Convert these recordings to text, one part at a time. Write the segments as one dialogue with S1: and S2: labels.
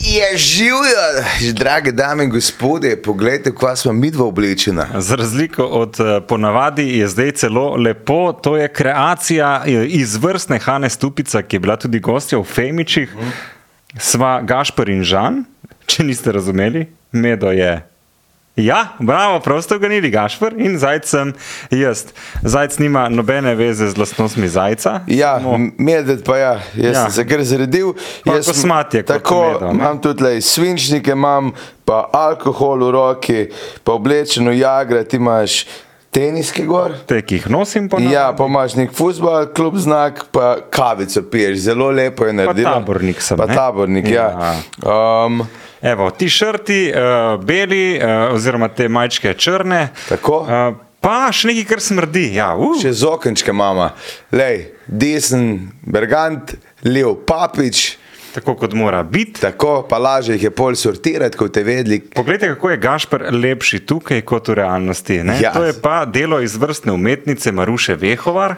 S1: Je živijo, drage dame in gospodje, poglejte, kva smo mi dva oblečena.
S2: Za razliko od eh, ponavadi je zdaj celo lepo, to je kreacija eh, izvrstne Hane Stupica, ki je bila tudi gostja v Femičih. Sva Gašpor in Žan, če niste razumeli, medo je. Ja, bravo, prosto ganili Gašpor in zajec sem jaz. Zajec nima nobene veze z lastnostmi zajca.
S1: Ja,
S2: samo-
S1: medved pa ja, jaz
S2: Ja.
S1: ja. sem se kar zredil.
S2: Pa
S1: Jaz sem-
S2: kosmat je kot
S1: Tako,
S2: medel, ne?
S1: imam tudi le svinčnike, imam pa alkohol v roki, pa oblečeno jagra, ti imaš teniski gor.
S2: Te, ki jih nosim, ponavadi.
S1: Ja, pa imaš nek futbol, klub znak, pa kavico piješ, zelo lepo je naredila.
S2: tabornik sem,
S1: Pa
S2: ne?
S1: tabornik, ja. ja. Um,
S2: Evo, ti šrti, uh, beli, uh, oziroma te majčke črne.
S1: Tako.
S2: Uh, pa še nekaj, kar smrdi. Ja, uh.
S1: Čez okenčke mama, lej, desen, bergant, lev, papič,
S2: Tako kot mora biti.
S1: tako pa lažje jih je pol sortirati, kot te vedli.
S2: Poglejte, kako je Gašpr lepši tukaj kot v realnosti. ne?
S1: Ja.
S2: To je pa delo izvrstne umetnice Maruše Vehovar.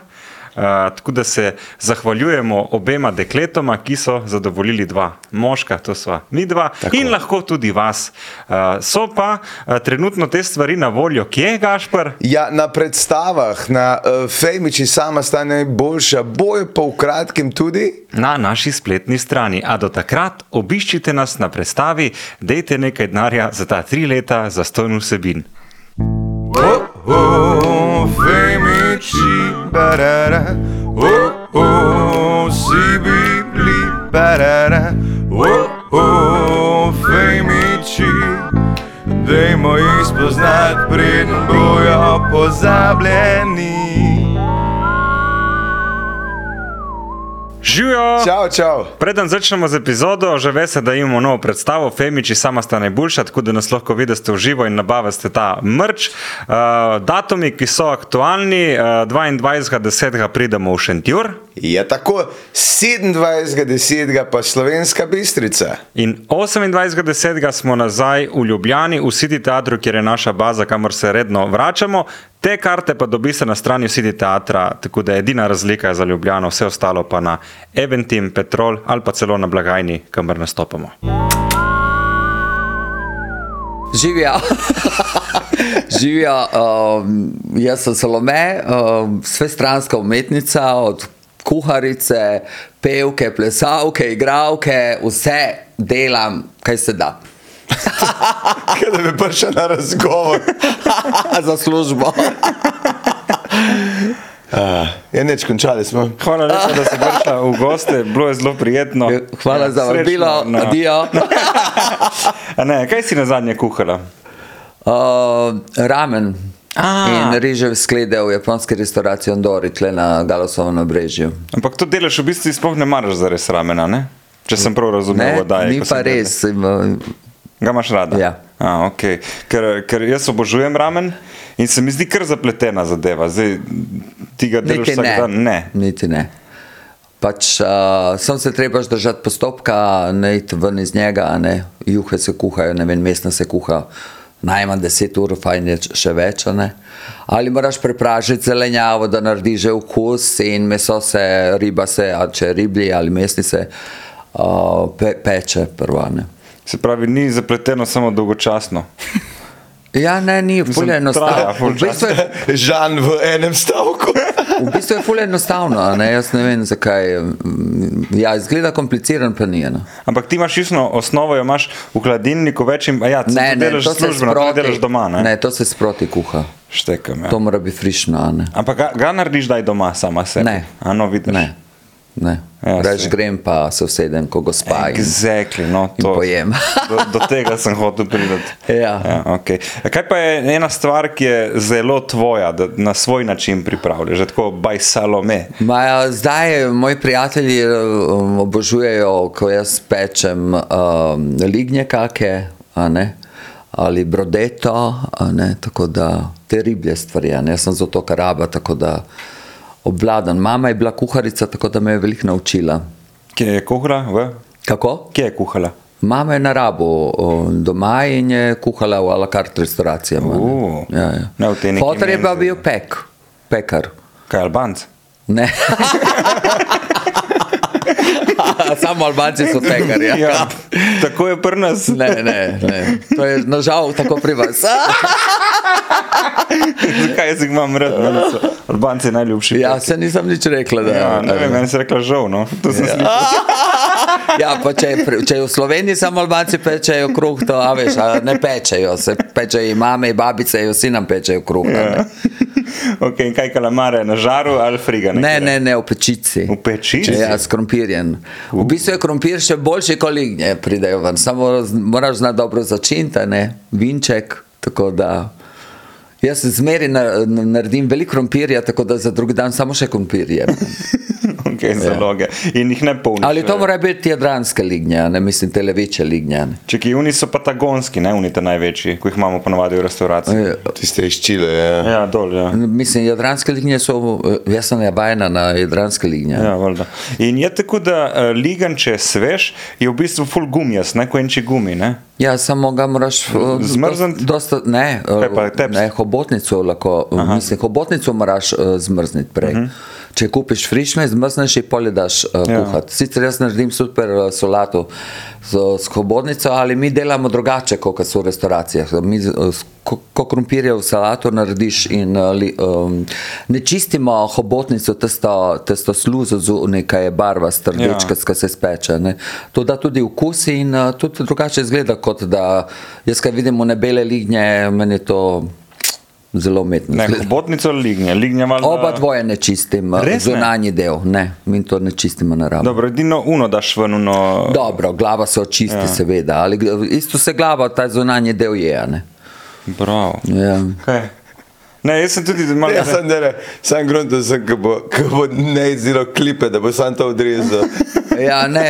S2: Uh, tako da se zahvaljujemo obema dekletoma, ki so zadovoljili dva moška, to sva mi dva tako. in lahko tudi vas. Uh, so pa uh, trenutno te stvari na voljo, kje je Gašpr?
S1: Ja, na predstavah, na uh, Fejmiči sama sta najboljša, bojo pa v kratkem tudi.
S2: na naši spletni strani. A do takrat obiščite nas na predstavi, dejte nekaj denarja za ta tri leta za stojno vsebin.
S3: oh, femiči, barara, oh, oh, vsi bi bili, barara, oh, oh, femiči. Dajmo jih spoznati, preden bojo pozabljeni.
S2: Živijo!
S1: Čau, čau.
S2: Preden začnemo z epizodo, že veste, da imamo novo predstavo, Femiči, sama sta najboljša, tako da nas lahko vidite v živo in nabavite ta mrč. Uh, datumi, ki so aktualni, uh, 22.10. pridemo v Šentjur
S1: Je tako 27.10. pa slovenska bistrica.
S2: in 28.10. smo nazaj v Ljubljani, v City Teatru, kjer je naša baza, kamor se redno vračamo. Te karte pa dobite na strani City Teatra, tako da je edina razlika je za Ljubljano, vse ostalo pa na Eventim, Petrol ali pa celo na blagajni, kamor nastopamo.
S4: Živijo. Živijo. Um, jaz sem Salome, um, svestranska umetnica, od kuharice, pevke, plesalke, igravke, vse delam, kaj se da.
S1: Kaj da bi prišel na razgovor?
S4: Za službo.
S1: Uh, je neč končali smo.
S2: Hvala lepa, da si prišla v goste, bilo je zelo prijetno.
S4: Hvala ja, za
S2: Srečno no.
S4: vabilo,
S2: na-
S4: adijo.
S2: A Ne, kaj si na zadnje kuhala?
S4: Uh, ramen.
S2: A.
S4: In rižev sklede v japonski restauraciji Ondori, tle na Galosovem obrežju.
S2: Ampak to delaš v bistvu sploh ne maraš za res ramena, ne? Če sem prav razumel,
S4: Ne,
S2: da je.
S4: ni pa res. Ima,
S2: Ga imaš rada?
S4: Ja.
S2: A, okay. ker, ker jaz obožujem ramen in se mi zdi kar zapletena zadeva. Zdaj, ti ga delaš
S4: Niti
S2: vsak
S4: ne.
S2: dan? Ne.
S4: Niti ne. Pač uh, sem se treba držati postopka, ne iti ven iz njega, a ne juhe se kuhajo, ne vem, mesna se kuha. Najmanj 10 ur, fajn je č- še več. a ne. Ali moraš prepražiti zelenjavo, da naredi že okus, in meso se, riba se, ali če je riblji ali mesni se uh, pe, peče prvane.
S2: Se pravi, ni zapleteno samo dolgočasno.
S4: Ja, ne, ni, fulje
S2: traja ful
S4: enostavno. V bistvu je
S1: Žan v enem stavku.
S4: V bistvu je fully enostavno, a ne? jaz ne vem zakaj. mm, Ja, izgleda kompliciran, pa ni eno.
S2: Ampak ti imaš išno osnovo, jo imaš v hladilniku več in ja, saj
S4: Ne,
S2: to
S4: ne,
S2: delaš
S4: to se
S2: službeno, to ne
S4: sproti-
S2: delaš doma. Ne?
S4: Ne, to se sproti kuha.
S2: Štekam. Ja.
S4: To mora biti frišno, a ne.
S2: Ampak ga, ga narediš, da je doma sama sebe.
S4: Ne.
S2: Ano, vidiš.
S4: Ne, ne.
S2: Ja,
S4: Reč
S2: saj.
S4: grem pa se usedem, ko gospa in,
S2: Exactly, no,
S4: in
S2: to,
S4: pojem.
S2: do, do tega sem hotel priti.
S4: Ja.
S2: Ja, okay. Kaj pa je ena stvar, ki je zelo tvoja, da na svoj način pripravljaš, že tako baj salome.
S4: Ma, ja, zdaj moji prijatelji um, obožujejo, ko jaz pečem um, lignje kake a ne, ali brodeto, a ne, tako da te riblje stvari. a Ne. Jaz sem zato karaba, tako da obvladan. Mama je bila kuharica, tako da me je veliko naučila.
S2: Kje je kuhala? V?
S4: Kako?
S2: Kje je kuhala?
S4: Mama je na rabu um, doma in je kuhala v alakart restauracijah.
S2: U, Uh. ne v tej neki
S4: Potter Ja, je pa
S2: menzi.
S4: bil pek, pekar.
S2: Kaj je Albanc?
S4: Ne. Samo Albanci so tekari. Ja.
S2: Ja, tako je pri nas.
S4: Ne, ne, ne. To je nažal tako pri vas.
S2: Zakaj se jih imam rad? Meni so Albanci najljubši.
S4: Ja, se nisem nič rekla. Da,
S2: Ja, ne vem, meni se je rekla žal, no. To sem slišal.
S4: Ja, pa če, je pri- če je v Sloveniji samo Albanci pečejo kruh, to a veš, a ne pečejo, se pečejo in mame, in babice, in vsi nam pečejo kruh. a
S2: Ja,
S4: Ne,
S2: Ok, in kaj kalamare, na žaru ali friga?
S4: ne, ne, ne v pečici.
S2: V pečici?
S4: Ja, s krompirjem. V bistvu je krompir še boljši, kot lignje pridejo ven, samo z- moraš znati dobro začiniti, a ne, vinček, tako da. Jaz zmeri na- na- naredim veliko krompirja, tako da za drugi dan samo še krompirje.
S2: Ok, zaloge. In jih ne polniš.
S4: Ja. Ali to mora biti jadranska lignja, ne mislim, te leviče lignja. ne.
S2: Če ki oni so patagonski, ne oni te največji, ki jih imamo ponavadi v restauraciji.
S4: Eh,
S1: Tiste iz Čile, ja.
S2: Ja, dol, ja.
S4: Mislim, jadranske lignje so, eh, jaz sem nabajena na jadranske lignje.
S2: Ja, valjda. in je tako, da uh, ligan, če svež, je v bistvu full gumijas, ne kojenči gumi. Ne?
S4: Ja, samo ga moraš eh,
S2: Zmrzniti?
S4: Dosta, dosta, ne, eh,
S2: Kaj pa, teps?
S4: ne, hobotnico lahko, Aha. mislim, hobotnico moraš uh, zmrzniti prej. Uh -huh. Če kupiš frišne, zmrzneš in polje daš uh,
S2: Mhm. Ja.
S4: ja. kuhati. Sicer jaz naredim super eh, solato z, z hobotnico, ali mi delamo drugače, kot so v restauracijah. Mi, z- eh, s- ko- ko krompirjev salato narediš in eh, li, um, ne čistimo hobotnico, testo, testo sluzo, zu- nekaj je barva, strdečka,
S2: Ja.
S4: ja ki se speče. Ne. To da tudi okus in uh, tudi drugače izgleda, kot da jaz, kaj vidim, ne bele lignje, meni je to zelo umetno.
S2: Ne,
S4: izgleda.
S2: hobotnico ali lignje, lignje malo.
S4: Oba dvoje ne čistim, eh,
S2: Res ne?
S4: zunanji del, ne, mi to ne čistimo naravno.
S2: Dobro, edino uno daš ven, uno.
S4: Dobro, glava se očisti, ja. seveda, ali gl- isto se glava, ta zunanji del je. a ne.
S2: Bravo.
S4: Ja.
S2: Kaj? Ne, jaz sem tudi malo.
S1: Ja, sem dere, sem grunto, sem, ko bo, ko bo ne izdelal klipe, da bo sam to odrezal.
S4: ja, ne,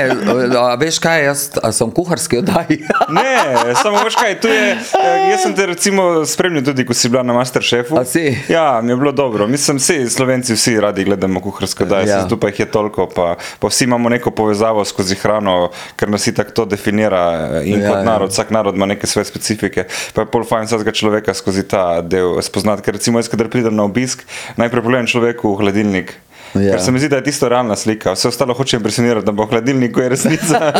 S4: a veš kaj, jaz a sem v kuharski oddaji.
S2: Ne, samo veš kaj, tu je. eh, Jaz sem te recimo spremljal tudi, ko si bila na Masterchefu.
S4: A si?
S2: Ja, mi je bilo dobro. Mislim, vsi Slovenci vsi radi gledamo kuharske daje,
S4: Ja.
S2: ja. tu pa jih je toliko, pa, pa vsi imamo neko povezavo skozi hrano, ker nas i tako to definira eh, in
S4: Ja,
S2: ja, kot
S4: ja.
S2: narod, ja. vsak narod ima neke svoje specifike. Pa je pol fajn vsakega človeka skozi ta del spoznati, ker recimo jaz, kadar pridem na obisk, najprej pogledam človeku v hladilnik.
S4: Ja.
S2: Ja. Ker se mi zdi, da je tisto realna slika, vse ostalo hoče impresionirati, da bo v hladilniku je resnica.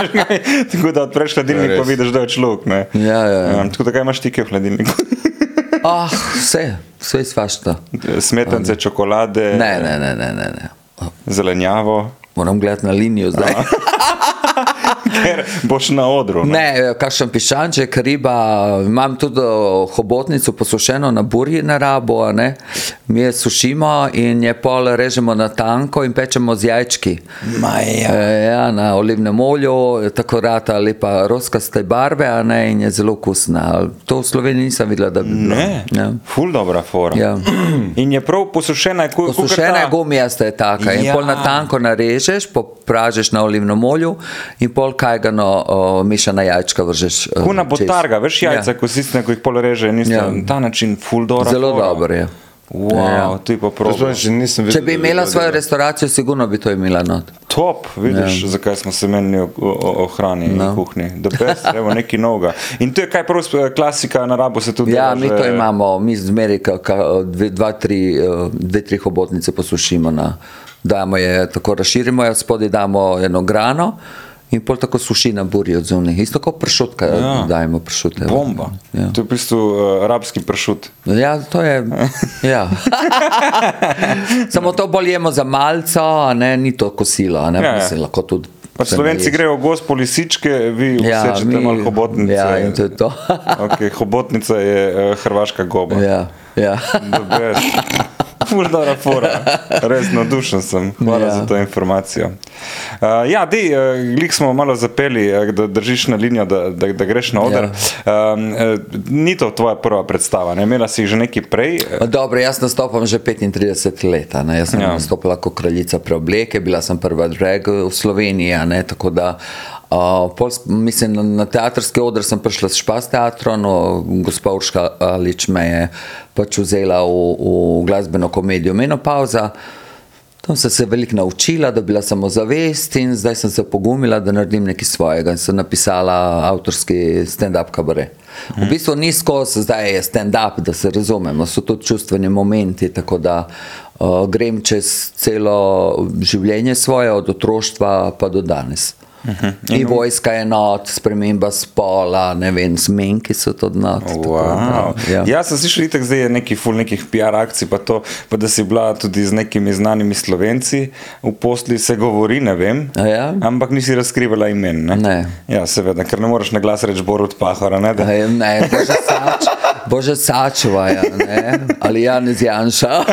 S2: Tako da odpreš hladilnik,
S1: Ja,
S2: pa
S1: res.
S2: vidiš, da je človek. ne.
S4: Ja, ja, ja.
S2: Tako da kaj imaš tike v hladilniku?
S4: Ah, vse, vse izvašta.
S2: Smetance, čokolade,
S4: Ne, ne, ne, ne, ne. ne.
S2: zelenjavo,
S4: Moram gledati na linijo zdaj.
S2: ker boš na odru. Ne?
S4: Ne, eh, kakšen pišanček, riba, imam tudi eh, hobotnico posušeno na burji na rabo, a ne? mi jo sušimo in je pol režemo na tanko in pečemo z jajčki. Maja. E, ja, na olivnem olju, eh, tako rata lepa roskaste barve a ne? in je zelo okusna. To v Sloveniji nisem videla, da bi bilo.
S2: Ne,
S4: Ja.
S2: ful dobra fora.
S4: Ja.
S2: In je prav posušena, kot
S4: Posušena je gumijasta je taka in
S2: Ja.
S4: pol na tanko narežeš, popražeš na olivnem olju in pol kajgano o, mišana jajčka vržeš. eh,
S2: Kuna
S4: čez.
S2: botarga, veš jajca, ja. ko si ko jih pol reže, niste ja.
S4: Ja.
S2: na ta način ful dobra.
S4: Zelo
S2: fora.
S4: dobro je.
S2: Wow, ja. ti pa
S1: To sploh
S2: prav.
S1: še nisem videl.
S4: Če bi
S1: da
S4: imela
S1: bi
S4: svojo
S1: bilo
S4: restavracijo, sigurno bi to imela not.
S2: Top, vidiš, ja. zakaj smo se menili o, o, o hrani in no. kuhinji. Da pes, evo nekaj novega. In to je kaj prav sp- klasika, na rabo se tudi eh,
S4: Ja,
S2: dela
S4: mi
S2: že-
S4: to imamo, mi zmeri ka, ka, dve, dva, tri, eh, dve, tri hobotnice posušimo. Na, damo je tako razširimo, jo spodaj damo eno grano in pol tako suši na burji od zunaj. Isto kot pršutka,
S2: Ja.
S4: ja. dajemo pršute.
S2: Bomba.
S4: Ja.
S2: Ja. To je v bistvu uh, arabski pršut.
S4: Ja, to je. Ja. Samo to bolj jemo za malce, a ne, ni to kosilo. a Ne,
S2: Ja, ja.
S4: ja, Mislim, lahko tudi.
S2: Pač
S4: se
S2: Slovenci
S4: naješ.
S2: grejo v gozd po lisičke, vi ja,
S4: Ja,
S2: sečete
S4: mi-
S2: malo hobotnice.
S4: Ja, in to je to.
S2: okay, hobotnica je uh, hrvaška goba.
S4: ja, ja.
S2: Fulda rafora, res navdušen sem. Hvala ja.
S4: Ja.
S2: za to informacijo. Uh, ja, di, uh, glih smo malo zapeli, eh, da držiš na linijo, da, da, da greš na oder. Ja. Um, uh, ni to tvoja prva predstava, ne? imela si jih že nekaj prej.
S4: Ma No, Dobro, jaz nastopam že 35 let. a Ne? Jaz sem
S2: Ja.
S4: ja. nastopila kot kraljica preobleke, bila sem prva drag v Sloveniji. a Ne? Tako da, uh, pol, s- mislim, na, na teatrski oder sem prišla s špas teatrom, no, gospa Urška Alič me je pač vzela v, v glasbeno komedijo Menopauza. Tam sem se veliko naučila, dobila samozavest in zdaj sem se pogumila, da naredim nekaj svojega. In sem napisala avtorski stand-up kabaret. V bistvu ni skozi, zdaj je stand-up, da se razumemo, so tudi čustveni momenti, tako da uh, uh, grem čez celo življenje svoje, od otroštva pa do danes. Uh -huh. In vojska je not, sprememba spola, ne vem, zmenki so to not.
S2: Wow. Ja. Jaz sem slišal, da zdaj je neki ful nekih PR akcij, pa, to, pa da si bila tudi z nekimi znanimi slovenci v posli, se govori, ne vem.
S4: A ja?
S2: Ampak nisi razkrivala imen. Ne?
S4: Ne.
S2: Ja, seveda, ker ne moreš na glas reči Borut Pahora. Ne, da,
S4: Aj, Ne, bože, sač, bože sačuva, ja, ne? ali Janez Janša.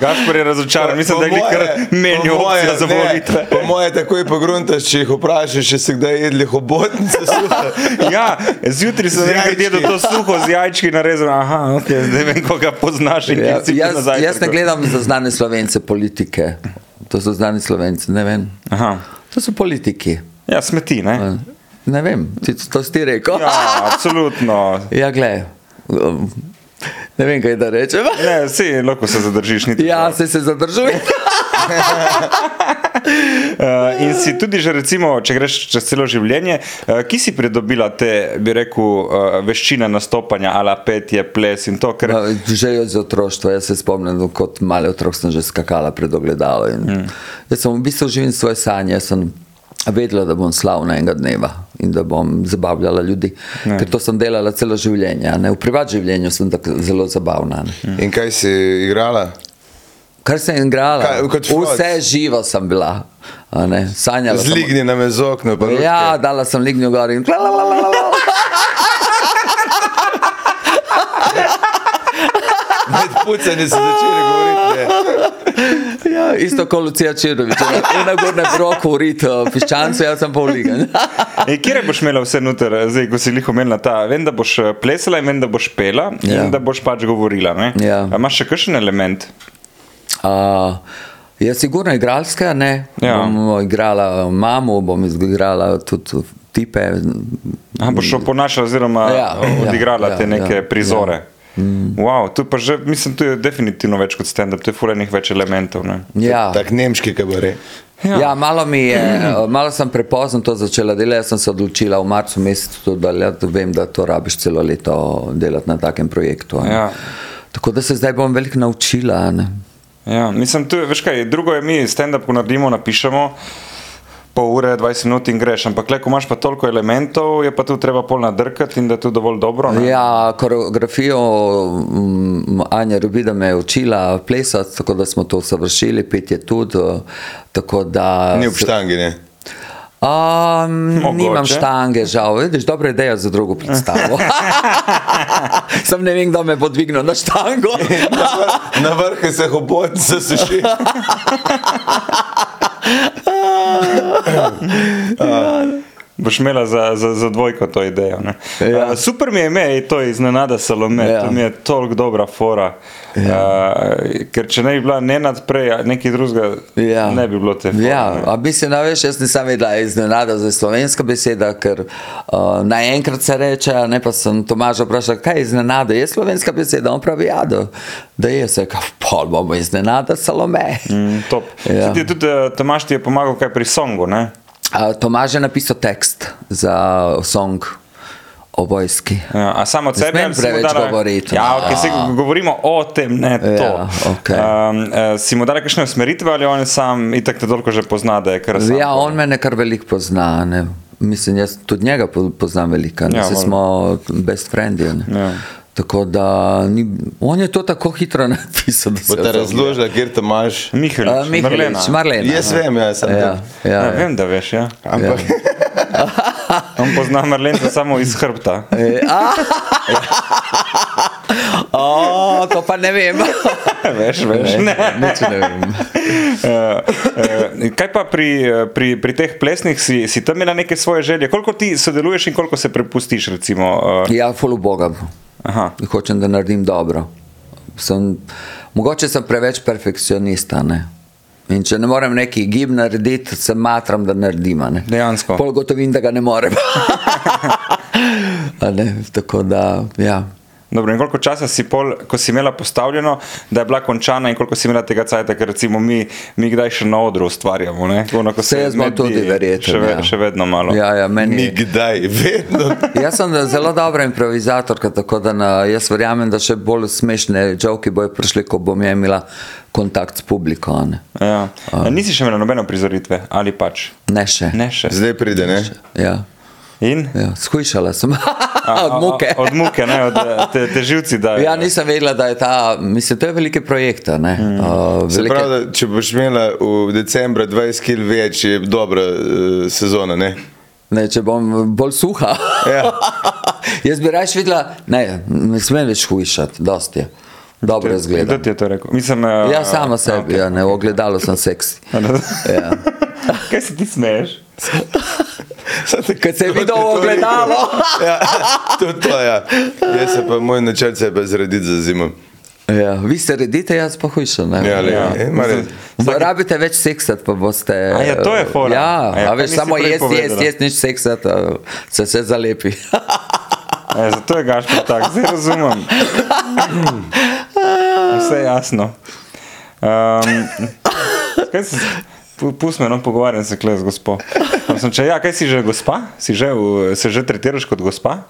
S2: Gašpor je razočaran, mislim,
S1: Po
S2: da je
S1: moje-
S2: kar menil
S1: po moje,
S2: opcijo za
S1: ne,
S2: volitve.
S1: Po moje takoj pogruntaš, če jih vprašaš, če si kdaj jedli hobotnice. suhe.
S2: Ja, zjutraj sem
S1: Z
S2: rekel,
S1: jajčki.
S2: da je to suho z jajčki narezano. Aha, okay, zdaj vem, koga poznaš in
S4: Ja,
S2: kaj si bil
S4: jaz,
S2: nazaj.
S4: jaz ne gledam za znane slovence politike, to so znani slovenci, ne vem.
S2: Aha.
S4: To so politiki.
S2: Ja, smeti, ne?
S4: Ne vem, ti, to si ti rekel.
S2: Ja, absolutno.
S4: Ja, glej. um, Ne vem, kaj da rečem.
S2: Ne, vsi lahko se zadržiš, niti.
S4: Ja, se se zadržuje.
S2: Uh, in si tudi že, recimo, če greš čez celo življenje, uh, ki si pridobila te, bi rekel, uh, veščine nastopanja, ala petje, ples in to, ker
S4: No, Že od otroštva, jaz se spomnim, da kot mali otrok sem že skakala pred ogledalo. In, mm. Jaz sem v bistvu živim svoje sanje, jaz sem vedela, da bom slavna enega dneva in da bom zabavljala ljudi. Ne. Ker to sem delala celo življenje, a ne? v privat življenju sem tako zelo zabavna. a Ne?
S1: In kaj si igrala?
S4: Kar sem igrala,
S1: Kaj, kot Freud?
S4: vse živo sem bila. a ne, Sanjala Ja, sem.
S1: Zligni na me z okno. pa roke.
S4: Ja, dala sem lignjo gor in klalalalala.
S1: Med pucanjem si začeli govoriti. ne.
S4: Ja, isto kot Lucija Čirovič. Ena gorna broko urit, piščancu, jaz sem pa uligan.
S2: E, kje boš imela vse noter, zdaj, ko si jih omenila? Ta? Vem, da boš eh, plesala in vem, da boš pela ja.
S4: Ja.
S2: in da boš pač govorila. ne?
S4: Ja.
S2: A Imaš še kakšen element?
S4: Uh, ja, sigurno igralska, ne.
S2: Ja.
S4: Bom eh, igrala mamo, bom igrala tudi tipe.
S2: A, boš oponašala oziroma ja,
S4: Ja,
S2: odigrala ja,
S4: ja,
S2: te
S4: ja,
S2: neke ja,
S4: ja.
S2: prizore. Ja. Mm. Wow, tu pa že, mislim, tu je definitivno več kot stand-up, tu je fulenih več elementov. Ne?
S4: Ja.
S1: Tak nemški kabare.
S4: Ja. ja, malo mi je, malo sem prepozno to začela delati. Jaz sem se odločila v marcu mesecu, da le- da vem, da to rabiš celo leto delati na takem projektu. a ne.
S2: Ja.
S4: Tako da se zdaj bom veliko naučila. a ne.
S2: Ja, mislim, tu, je- veš kaj, drugo je mi stand-up, ko naredimo, napišemo. Pol ure, 20 minut in greš, ampak le, ko imaš pa toliko elementov, je pa tu treba pol nadrkati in da je tu dovolj dobro. ne?
S4: Ja, koreografijo mm, Anja Rubida me je učila plesati, tako da smo to usavršili, petje tudi. eh, tako Da,
S1: Ni ob štangi, ne.
S4: Um,
S2: Mogoče.
S4: nimam štange, žal. Vidiš, dobra ideja za drugo predstavo. Sam ne vem, kdo me bo dvignil na štango.
S1: Na vrhu se hobotnice suši.
S2: Boš imela za, za, za dvojko to idejo. Ja. Uh, super mi je ime, ej, to je iznenada Salome, ja.
S4: Ja.
S2: to mi je toliko dobra fora. Ja. Uh, ker če ne bi bila ne nadprej, a nekaj drugega, ja. ne bi bilo te fore.
S4: Ja,
S2: ne.
S4: a mislim, da veš, jaz nisem vedela, je iznenada za slovenska beseda, ker uh, naenkrat se reče, a ne pa sem Tomaža vprašal, kaj je iznenada, je slovenska beseda, on pravi, ja, da, da je se, kaj pol bomo iznenada, salome. Mm.
S2: Mm, top.
S4: Ja.
S2: Saj ti je Tudi eh, Tomaš ti je pomagal kaj pri songu. Ne?
S4: Uh, Tomaž je napisal tekst za song o vojski.
S2: Ja, a samo od
S4: Ne
S2: sebe
S4: smem
S2: ali si mu
S4: preveč govoriti,
S2: Ja,
S4: no.
S2: okay, se govorimo o tem, ne to.
S4: Ja, okej.
S2: um, uh, si mu dal kakšne usmeritve ali on je sam itak te toliko že pozna, da je kar sam?
S4: Ja, on me nekar veliko pozna. Ne. Mislim, jaz tudi njega po- poznam veliko,
S2: Ja,
S4: ja,
S2: valjda.
S4: smo best friendi. a ne.
S2: Ja.
S4: Tako da ni, on je to tako hitro napisal, da se
S1: Bo te razložila, kjer te imaš.
S2: Mihajlovič,
S4: Uh, Mihajlovič, Marlena.
S1: Jaz vem, jaz sem.
S4: Ja, ja,
S2: Ja,
S4: ja.
S2: vem, da veš, ja.
S1: Ampak
S2: On pozna Marlenca samo iz hrbta.
S4: O, to pa ne vem.
S2: veš, veš. Ne.
S4: Nič ne vem.
S2: Uh, uh, kaj pa pri, eh, pri, pri teh plesnih, si, si tam imela neke svoje želje? Koliko ti sodeluješ in koliko se prepustiš? Recimo, uh,
S4: Ja, ful ubogam.
S2: aha,
S4: Hočem, da naredim dobro. Sem, mogoče sem preveč perfekcionista. Ne? In če ne morem neki gib narediti, se matram, da naredim. a Ne?
S2: Dejansko.
S4: Pol gotovim, da ga ne morem. A ne? Tako da, ja.
S2: Dobro, in koliko časa si pol, ko si imela postavljeno, da je bila končana, in koliko si imela tega cajta, ker recimo mi, mi kdaj še na odru ustvarjamo. ne? Ono, ko
S4: Se jaz imam
S2: naredi,
S4: tudi, verjetno.
S2: Še, ve,
S4: ja.
S2: še vedno malo.
S4: Ja, ja, meni,
S1: Nikdaj, vedno.
S4: Jaz sem zelo dobra improvizatorka, tako da na, jaz verjamem, da še bolj smešne žoki bojo prišli, ko bom jaz imela kontakt s publiko. a Ne,
S2: Ja. A Nisi še imela nobene prizoritve ali pač.
S4: ne še.
S2: Ne še.
S1: Zdaj pride, ne?
S4: Ja,
S2: In?
S4: ja. Skušala sem
S2: A- a-
S4: od muke.
S2: Od muke, ne, od eh, te, te živci. Da,
S4: Ja, nisem vedela, da je ta, mislim, to je velike projekta. Mm.
S2: Hmm.
S4: Uh,
S1: Se
S4: velike,
S1: pravi, da, če boš imela v decembru 20 kg več, je dobra uh, sezona, ne?
S4: ne, če bom bolj suha.
S1: Ja.
S4: Jaz bi raje videla, ne, ne smem več hujšati, dosti je. Dobro
S2: Kdo
S4: izgleda.
S2: ti je to rekel? Mislim, eh,
S4: Ja, sama sebi, ja, ne, ogledalo sem seksi. Ja.
S2: Kaj se ti smeješ?
S4: Kad se je
S1: To je
S4: videl
S1: to
S4: ogledalo.
S1: ja, to, to, ja. Jaz se pa, moj načrt se je pa zrediti za zimo.
S4: Ja, vi se redite, jaz pa hujšam. ne.
S1: Ja, le, ja. E, mare,
S4: Vsaki... Rabite več seksat, pa boste.
S2: A ja, to je fora.
S4: Ja,
S2: A ja,
S4: a
S2: to
S4: veš,
S2: nisi
S4: samo
S2: prej
S4: jaz, jaz,
S2: povedala.
S4: jaz nič seksat, a se vse zalepi.
S2: E, zato je gašpor tak, zdaj razumem. Vse je jasno. Um, kaj se, pu- pusti me, no pogovarjam se kle z gospo. Tam Sem, če, ja, kaj si že gospa? Si že, v- se že tretiraš kot gospa?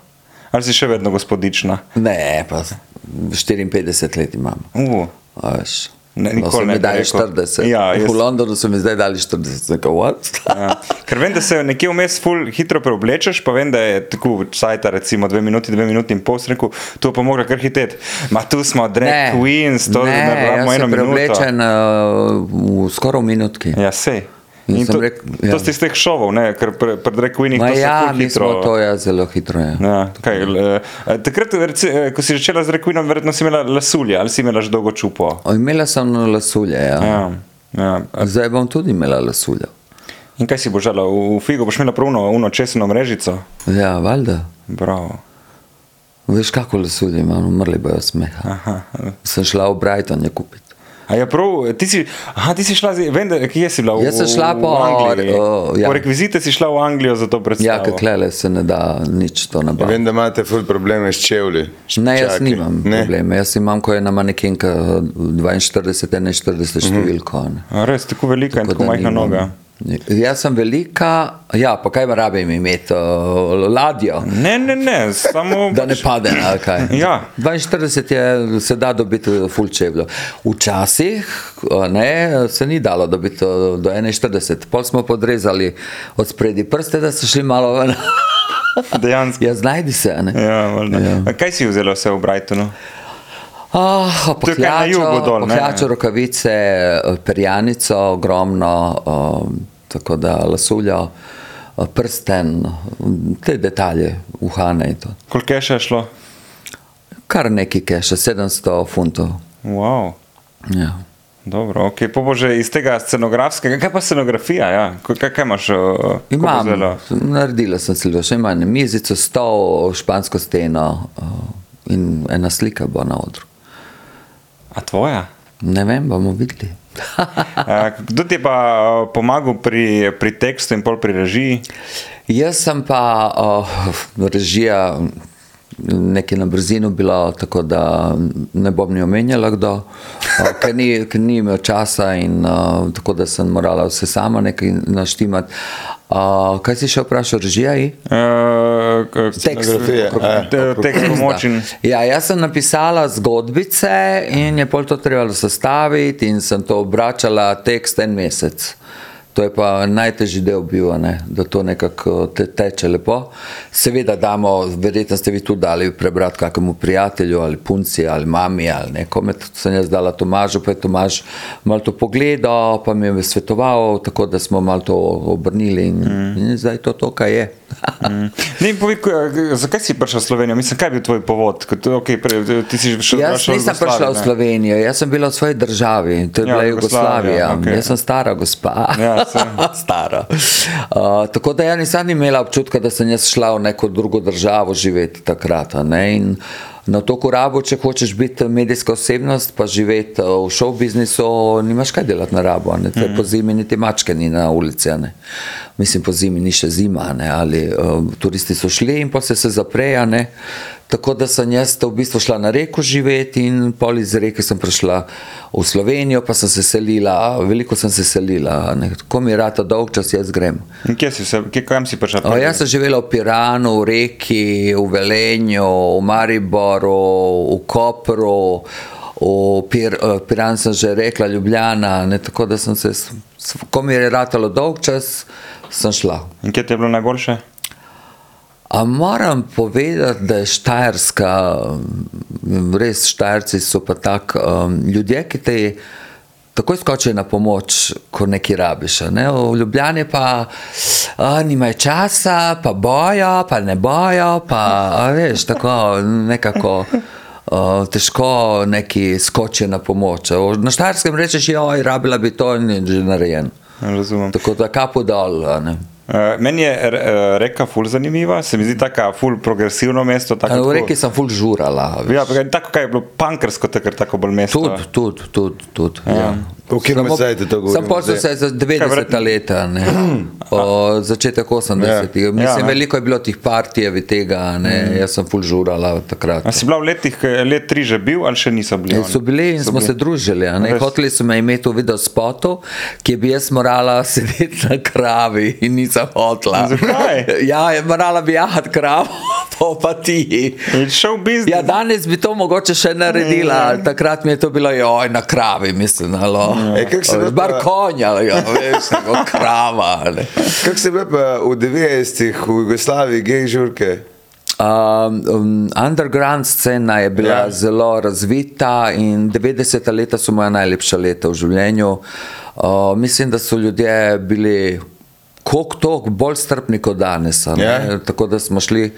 S2: Ali si še vedno gospodična?
S4: ne, pa 54 let imam.
S2: Uh,
S4: a veš.
S2: Ne,
S4: no,
S2: nikoli
S4: so
S2: ne
S4: mi
S2: bi
S4: dali
S2: rekel.
S4: 40.
S2: Ja, jaz-
S4: v Londonu so mi zdaj dali 40, nekaj what?
S2: ja. Ker vem, da se nekje vmes ful hitro preoblečeš, pa vem, da je tako čajta recimo dve minuti, dve minuti in pol, sem rekel, tu pa mogla kar hitet. Ma tu smo, drag queens, to
S4: ne,
S2: naredimo
S4: jaz
S2: eno
S4: sem
S2: minuto.
S4: preoblečen uh, v skoraj v minutki.
S2: Ja, sej.
S4: In
S2: In
S4: sem
S2: to,
S4: rekel,
S2: ja.
S4: ja.
S2: to ste iz teh šovov, ne, ker pred Requining
S4: Ma
S2: to
S4: ja,
S2: ja,
S4: mi smo
S2: hitro.
S4: to ja, zelo hitro. Ja.
S2: Ja, kaj, l, eh, takrat, reci, eh, ko si začela z Requinom, verjetno si imela lasulje ali si imela že dolgo čupo.
S4: O, Imela sem lasulje, ja.
S2: Ja, ja.
S4: ja. zdaj bom tudi imela lasulje.
S2: In kaj si božala? V, v figo boš imela pravno uno česno mrežico?
S4: Ja, valjda.
S2: Bravo.
S4: Veš, kako lasulje imam, umrli bojo od smeha.
S2: Aha.
S4: Sem šla v Brighton je kupiti.
S2: A ja, prav, ti si, aha, ti si šla, zdaj- vem, da, kje si bila? V,
S4: Jaz sem šla
S2: v
S4: po-
S2: Angliji.
S4: o, ja.
S2: Po rekvizite si šla v Anglijo za to
S4: Ja,
S2: predstavo.
S4: kaklele se ne da nič to nabaviti.
S1: vem, da imate ful probleme s čevlji. s
S4: Ja. Ne, jaz
S1: čaki.
S4: nimam
S1: Ne.
S4: problema. Jaz imam, ko je na manekenka 42, 41 številko. Mm -hmm.
S2: A Res, tako velika in Mhm. tako majhna
S4: no.
S2: noga.
S4: Jaz sem velika, ja, pa kaj me rabim imeti, uh, ladjo,
S2: Ne, ne, ne, samo...
S4: da ne
S2: pač-
S4: pade na kaj.
S2: Ja.
S4: 42 je, se da dobiti fulčevljo. Včasih a ne, se ni dalo dobiti eh, do 41, pol smo podrezali od spredi prste, da so šli malo ven.
S2: Dejansko.
S4: Ja, znajdi se. a Ne?
S2: Ja, valjda.
S4: Ja.
S2: A Kaj si vzela vse v Brightonu?
S4: Ah,
S2: To je kar na jugu dol, ne?
S4: pohlačo, rokavice, eh, perjanico, ogromno, um, tako da lasuljo, eh, prsten, te detalje, uhane in to.
S2: Koliko je še šlo?
S4: Kar nekaj keša, 700 funtov.
S2: Wow.
S4: Ja.
S2: Dobro, ok, pa bo že iz tega scenografskega, kaj pa scenografija, ja? Ko- kaj, kaj imaš? uh, ko bo
S4: Imam,
S2: vzela?
S4: naredila sem si še manj, mizico, stol, špansko steno eh, in ena slika bo na odru.
S2: A tvoja?
S4: Ne vem, bomo videli.
S2: A, kdo ti je pa uh, pomagal pri, pri tekstu in pol pri režiji?
S4: Jaz sem pa uh, režija nekaj na brzino bila, tako da ne bom ni omenjala kdo, uh, ker, ni, ker ni imel časa in uh, tako da sem morala vse sama nekaj naštimati. Uh, kaj si še vprašal, režija? Je?
S2: Uh,
S1: Scenografije,
S2: eh.
S1: ja.
S4: Eh,
S2: Tekst pomočen.
S4: Ja, jaz sem napisala zgodbice in je pol to trebalo sestaviti, in sem to obračala tekst en mesec. To je pa najtežji del bil, a ne? da to nekako te, teče lepo. Seveda damo, verjetno ste vi tudi dali prebrati kakemu prijatelju ali punci ali mami ali nekome. Tudi Sem jaz dala Tomažu, pa je Tomaž malo to pogledal, pa mi je svetoval, tako da smo malo to obrnili in, mm. in zdaj je to to, kaj je.
S2: Mm. Ne, povej, ko- eh, zakaj si prišel v Slovenijo? Mislim, kaj je bil tvoj povod? Kot, okay, pre, eh, ti si šel
S4: Jaz
S2: šel Jugoslavijo,
S4: nisem prišla v
S2: ne?
S4: Slovenijo, jaz sem bila v svoji državi, to je
S2: Ja,
S4: ja, bila
S2: Jugoslavija,
S4: Jugoslavija.
S2: okej.
S4: Okay. Jaz sem stara gospa.
S2: Ja, sem.
S4: stara. Uh, tako da jaz nisem imela občutka, da sem jaz šla v neko drugo državo živeti takrat. a Ne? In na to korabo, če hočeš biti medijska osebnost, pa živeti uh, v šov biznisu, nimaš kaj delati na rabo. a ne.
S2: Mhm.
S4: Te Po zimi niti mačke ni na ulici. a ne. Mislim, po zimi ni še zima, a ne? ali uh, turisti so šli in pa se se zapreja. Tako da sem jaz v bistvu šla na reko živeti in pol iz reke sem prišla v Slovenijo, pa sem se selila, veliko sem se selila. Ne. Ko mi je rata dolg čas, jaz grem.
S2: In kje si se, kje, kam si prišel?
S4: O, jaz sem živela v Piranu, v Reki, v Velenju, v Mariboru, v Kopru, v Pir, eh, Piran sem že rekla, Ljubljana. Ne, tako da sem se, s- s- ko mi je ratalo dolg čas, sem šla.
S2: In kje ti je bilo najboljše?
S4: A moram povedati, da je Štajerska, mm, res Štajerci so pa tak um, ljudje, ki te takoj skočijo na pomoč, ko nekaj rabiš. a Ne? V Ljubljani pa a, nimajo časa, pa bojo, pa ne bojo, pa a, veš, tako nekako. Uh, težko neki skoči na pomoč. A Na Štajerskem rečeš, joj, rabila bi to in je že narejen.
S2: Ne Ja, Razumem.
S4: Tako da kapo dol. a ne.
S2: Uh, meni je r- eh, reka ful zanimiva, se mi zdi taka ful progresivno mesto. Tako,
S4: A
S2: Ja, tako-
S4: V reki sem ful žurala. veš.
S2: Ja, pa kaj- tako kaj je bilo pankrsko, takrat tako bolj mesto.
S4: Tudi, tudi, tudi. tudi ja. Ja.
S1: O katerem sajtu to govorimo
S4: Sam počel
S1: zdaj?
S4: se za 90 let, začetek 80. Ja. Mislim,
S2: Ja,
S4: ja,
S2: ne.
S4: veliko je bilo tih partijev in tega, ne, mm. jaz sem full žurala takrat.
S2: A si bila v letih, ko je let tri že bil ali še niso bili?
S4: Ja, So bili in smo se družili. a ne.
S2: Res.
S4: Hoteli so me imeti v video spotu, ki bi jaz morala sedeti na kravi in nisem hotla.
S2: Zakaj?
S4: Ja, je- morala bi jahati kravo, to pa ti.
S2: In šel biznis.
S4: Ja, danes bi to mogoče še naredila, takrat mi je to bilo, joj, na kravi, mislim, alo.
S1: E, kako se da
S4: Zbar
S1: pa-
S4: konja, ja, veš, kot krava. ne.
S1: Kako se je bilo pa v 90-ih v Jugoslaviji, gej žurke?
S4: Um, um, underground scena je bila
S1: Ja.
S4: ja. zelo razvita in 90-ta leta so moja najlepša leta v življenju. Uh, mislim, da so ljudje bili koliko toliko bolj strpni kot danes. a ne.
S1: Ja.
S4: Tako da smo šli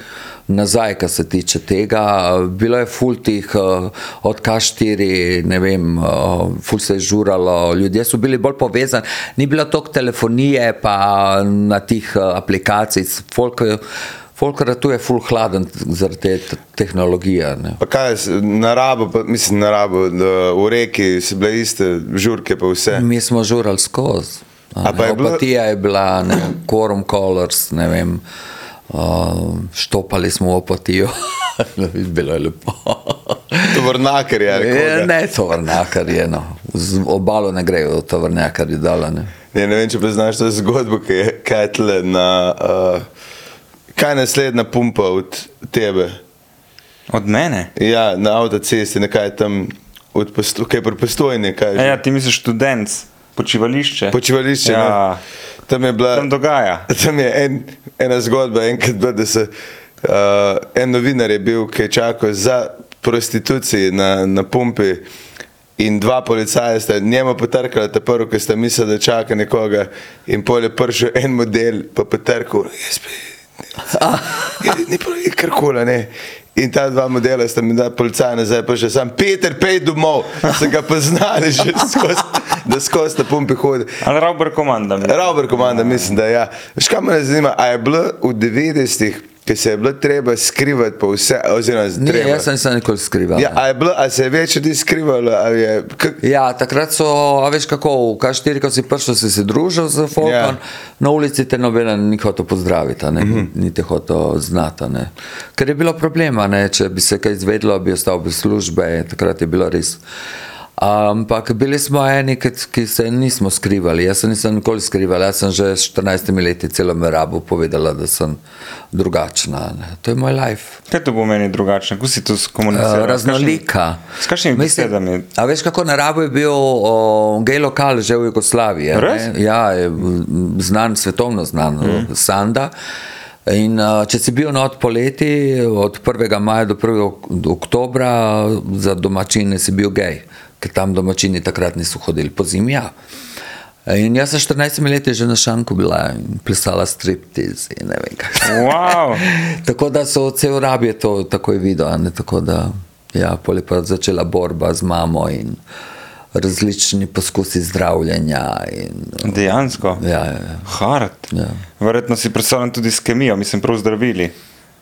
S4: nazaj, kar se tiče tega. Bilo je ful tih eh, od K4, ne vem, eh, ful se je žuralo, ljudje so bili bolj povezani, ni bilo toliko telefonije, pa na tih eh, aplikacij. Folk, Folkrat je ful hladen zaradi te t- tehnologije. Ne.
S1: Pa kaj, s- na rabo, pa, mislim na rabo, da v reki so bile iste žurke pa vse.
S4: Mi smo žurali skozi. a
S1: A
S4: ne.
S1: pa je bilo-
S4: Opatija je bila, ne vem, Quorum Colors, ne vem, uh, štopali smo v opatijo. bilo je lepo.
S1: Tovornakar je. ali
S2: Ja,
S4: Je,
S1: Ja, koga?
S4: ne, tovrnjakar je eno. Z obalo ne grejo, tovrnjakar je dalane.
S1: Ja, Ne, ne vem, če pa znaš to zgodbo, ki je Ketle na... Uh, kaj je naslednja pumpa od tebe?
S2: Od mene.
S1: Ja, na avtocesti, nekaj je tam, od posto, kaj je pri postojni, kaj je
S2: Ja,
S1: že?
S2: ja, ti misliš študent, počivališče.
S1: Počivališče,
S2: Ja.
S1: ja. tam je bila...
S2: Tam dogaja.
S1: Tam je en, ena zgodba, enkrat bila, da se uh, en novinar je bil, ki je čakal za prostitucijo na, na pumpi. In dva policaja sta njemu potrkala, ta prvi, ki sta mislila, da čaka nekoga, in pol je prišel en model, pa potrkal, jaz bi. Ne, ne, ne, kar kula, ne. In ta dva modela sta mi dala policaja nazaj, pa še sam Peter, pej domov, se ga poznali, že skozi, da skozi ta pumpi hodi.
S2: Ali Robert Komanda.
S1: Robert Komanda, mislim, da ja. Veš, kaj me zanima, a je bilo v 90-ih, ki se je bilo treba skrivati po vse, oziroma
S4: Ni,
S1: treba.
S4: jaz sem se nikoli skrival.
S1: Ja, a, je bilo, a se je več ljudi skrivalo, ali je... Kak,
S4: Ja, takrat so, a veš kako, v K4, ko si prišel, si se družil z Folkom,
S1: Ja.
S4: yeah. na ulici te noben ni hotel pozdraviti, a ne, mm -hmm. ni te hotel znati. a ne. Ker je bilo problema, ne, če bi se kaj izvedlo, bi ostal brez službe, takrat je bilo res. Ampak bili smo eni, ki, ki se nismo skrivali. Jaz se nisem nikoli skrivala, jaz sem že s 14 leti celo merabu povedala, da sem drugačna. a Ne. To je moj life.
S2: Kaj to pomeni drugačne? Kako si to skomuniciral?
S4: Eh, raznolika.
S2: S kakšnimi
S4: Mislim,
S2: besedami?
S4: A veš, kako naravo je bil o, gej lokal že v Jugoslaviji? a ne?
S2: Res? Mhm.
S4: Ja, je mm, znan, svetovno znan, mm. Sanda. In a, če si bil not poleti, od 1. maja do 1. ok- oktobra, za domačine si bil gej, ker tam domačini takrat niso hodili po zimi. Ja. In jaz sem 14 leti že na šanku bila in plesala striptiz in ne vem kaj.
S2: Wow.
S4: Tako da so cel rab je to takoj videl. a ne, Tako da, ja, pol je pa začela borba z mamo in različni poskusi zdravljenja. In,
S2: Dejansko.
S4: ja, ja, ja.
S2: Hard.
S4: Ja.
S2: Verjetno si predstavljam tudi s kemijo, mislim, prav zdravili.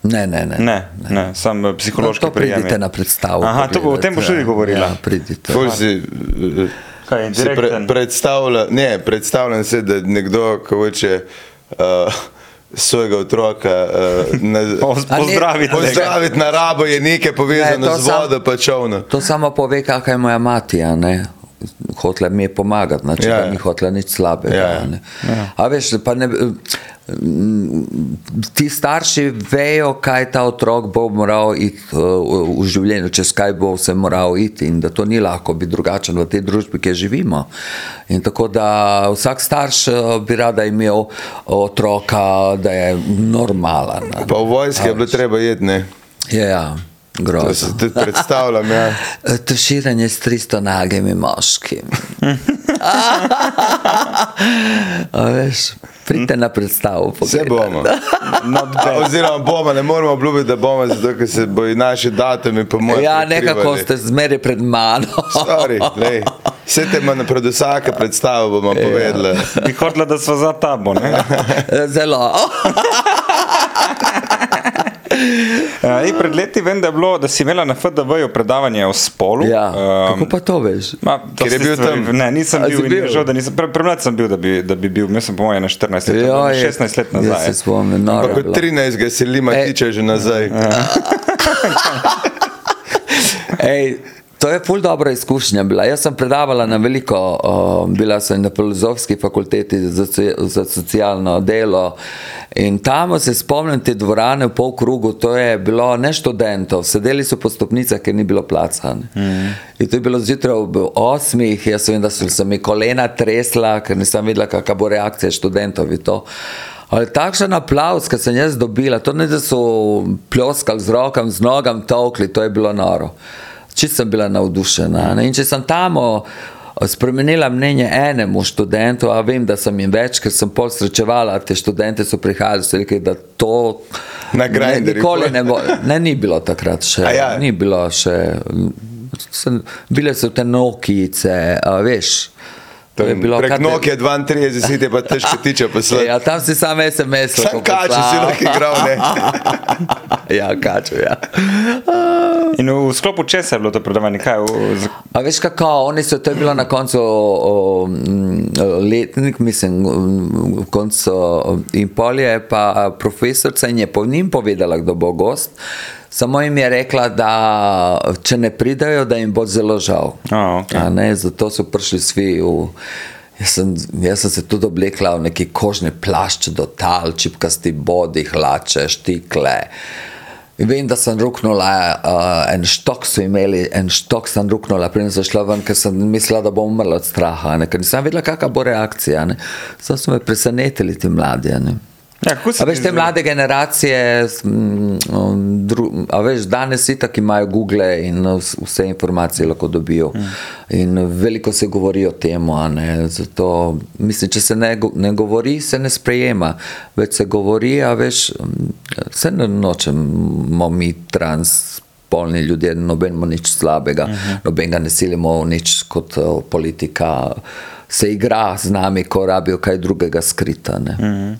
S4: Ne, ne, ne.
S2: Ne, ne, sam eh,
S4: No,
S2: psihološki
S4: to
S2: prijemi.
S4: pridite na predstavo.
S2: Aha, to bo, o
S4: pogledat,
S2: tem boš tudi
S4: ja.
S2: govorila.
S4: Ja, pridite.
S1: Ful si, eh,
S2: Kaj,
S1: si
S2: direkten?
S1: predstavlja, ne, predstavljam se, da nekdo, ki hoče uh, svojega otroka uh, na,
S4: A ne-
S2: Pozdravite ga.
S1: pozdraviti na rabo, je nekaj povezano
S4: Ne, to
S1: ne, z
S4: sam-
S1: vodo, pa čovno.
S4: To samo pove, kakšna je moja mati. a ne. Hotela mi je pomagati, znači,
S1: Ja,
S4: ja,
S1: ja.
S4: ni hotela nič slabega.
S1: Ja,
S4: Ja,
S1: ja.
S4: ja. A veš, pa ne, mm, ti starši vejo, kaj ta otrok bo moral iti eh, v v življenju, čez kaj bo vse moral iti in da to ni lahko biti drugačen v tej družbi, kjer živimo. In tako da vsak starš eh, bi rada imel otroka, da je normalen. a ne.
S1: Pa v vojski je bilo treba jeti, ne.
S4: Ja, ja, grozno.
S1: To si tudi predstavljam, ja.
S4: Tuširanje s 300 nagimi moškim. A veš, pridite na predstavo.
S1: Vse
S4: pogledat.
S1: bomo.
S2: Not
S1: A,
S2: bad.
S1: Oziroma bomo, ne moramo obljubiti, da bomo, zato ker se bojo naši datumi pomoči.
S4: Ja, nekako ste zmeri pred mano.
S1: Sorry, lej. Vse te ima pred vsake predstave bomo povedali.
S2: Bi hotela, da smo za tabo. ne?
S4: Zelo.
S2: Eh, ej, Pred leti vem, da, je bilo, da si imela na FDV-ju predavanje o spolu.
S4: Ja,
S2: Ehm,
S4: kako pa to veš?
S2: Ma, to
S1: Ker je
S2: si
S1: bil
S2: stvari-
S1: tam.
S2: Ne, nisem
S4: A, si
S2: bil, in mi je
S4: bil?
S2: žal, da nisem. Pre- Premlad sem bil, da bi, da bi bil, jaz sem po mojem na 14 let,
S4: Joj,
S2: Joj, 16 let
S4: Jaz
S2: nazaj.
S4: se spomnim, no,
S1: Pa kot 13 ga se lima
S4: Ej.
S1: tiče že nazaj.
S4: Ej, to je ful dobra izkušnja bila. Jaz sem predavala na veliko, uh, bila sem na filozofski fakulteti za, soci- za socialno delo in tam se spomnim te dvorane v polkrugu, to je bilo ne študentov, sedeli so po stopnicah, ker ni bilo placa. Mm. In to je bilo zjutraj ob osmih, jaz vem, da so se mi kolena tresla, ker nisem videla, kakšna bo reakcija študentov in to. Ali takšen aplaus, ki sem jaz dobila, to ne da so ploskali z rokom, z nogam tolkli, to je bilo noro. Čisto sem bila navdušena. a Ne? In če sem tam o, spremenila mnenje enemu študentu, a vem, da sem jim več, ker sem pol srečevala, te študente so prihajali, so rekli, da to
S1: Na
S4: ne,
S1: Grindrju.
S4: nikoli ne bo. Ne, ni bilo takrat še.
S1: A ja?
S4: Ni bilo še. Sem, bile so te nokice, a, veš.
S1: To je bilo. Prek
S4: kar te-
S1: Nokia 32 si te pa težko tiče poslati.
S4: Ja, tam si sam SMS.
S1: Sam kače si lahko igral, ne.
S4: ja, kače, ja.
S2: In v sklopu česa je bilo to predavanje? Kaj, v, za,
S4: A veš kako, oni so, to je bilo na koncu o, m, letnik, mislim, m, koncu in pol je pa profesorica in je po njim povedala, kdo bo gost. Samo jim je rekla, da če ne pridajo, da jim bo zelo žal.
S2: A, okej.
S4: A ne, zato so prišli vsi v. Jaz sem, jaz sem se tudi oblekla v neki kožni plašč do tal, čipkasti bodi, hlače, štikle. Vem, da sem ruknula, uh, en štok so imeli, en štok sem ruknula, preden sem šla ven, ker sem mislila, da bom umrla od straha, a ne, ker nisem vedela, kakšna bo reakcija. a ne. Sam so me presenetili ti mladi. a ne.
S2: ja, kako se
S4: A veš,
S2: ti
S4: te
S2: zdi-
S4: mlade generacije, s- m, m, dru, a veš, danes itak imajo Google in vs- vse informacije lahko dobijo.
S2: Mm.
S4: In veliko se govori o tem, a ne. Zato, mislim, če se ne, go- ne govori, se ne sprejema. Več se govori, a veš, m, se ne nočemo mi trans. Polni ljudje, nobenemu nič slabega, uh
S2: Mhm.
S4: -huh. nobenega ne silimo v nič kot uh, politika, se igra z nami, ko rabijo kaj drugega skrita. Uh
S2: Mm.
S4: -huh.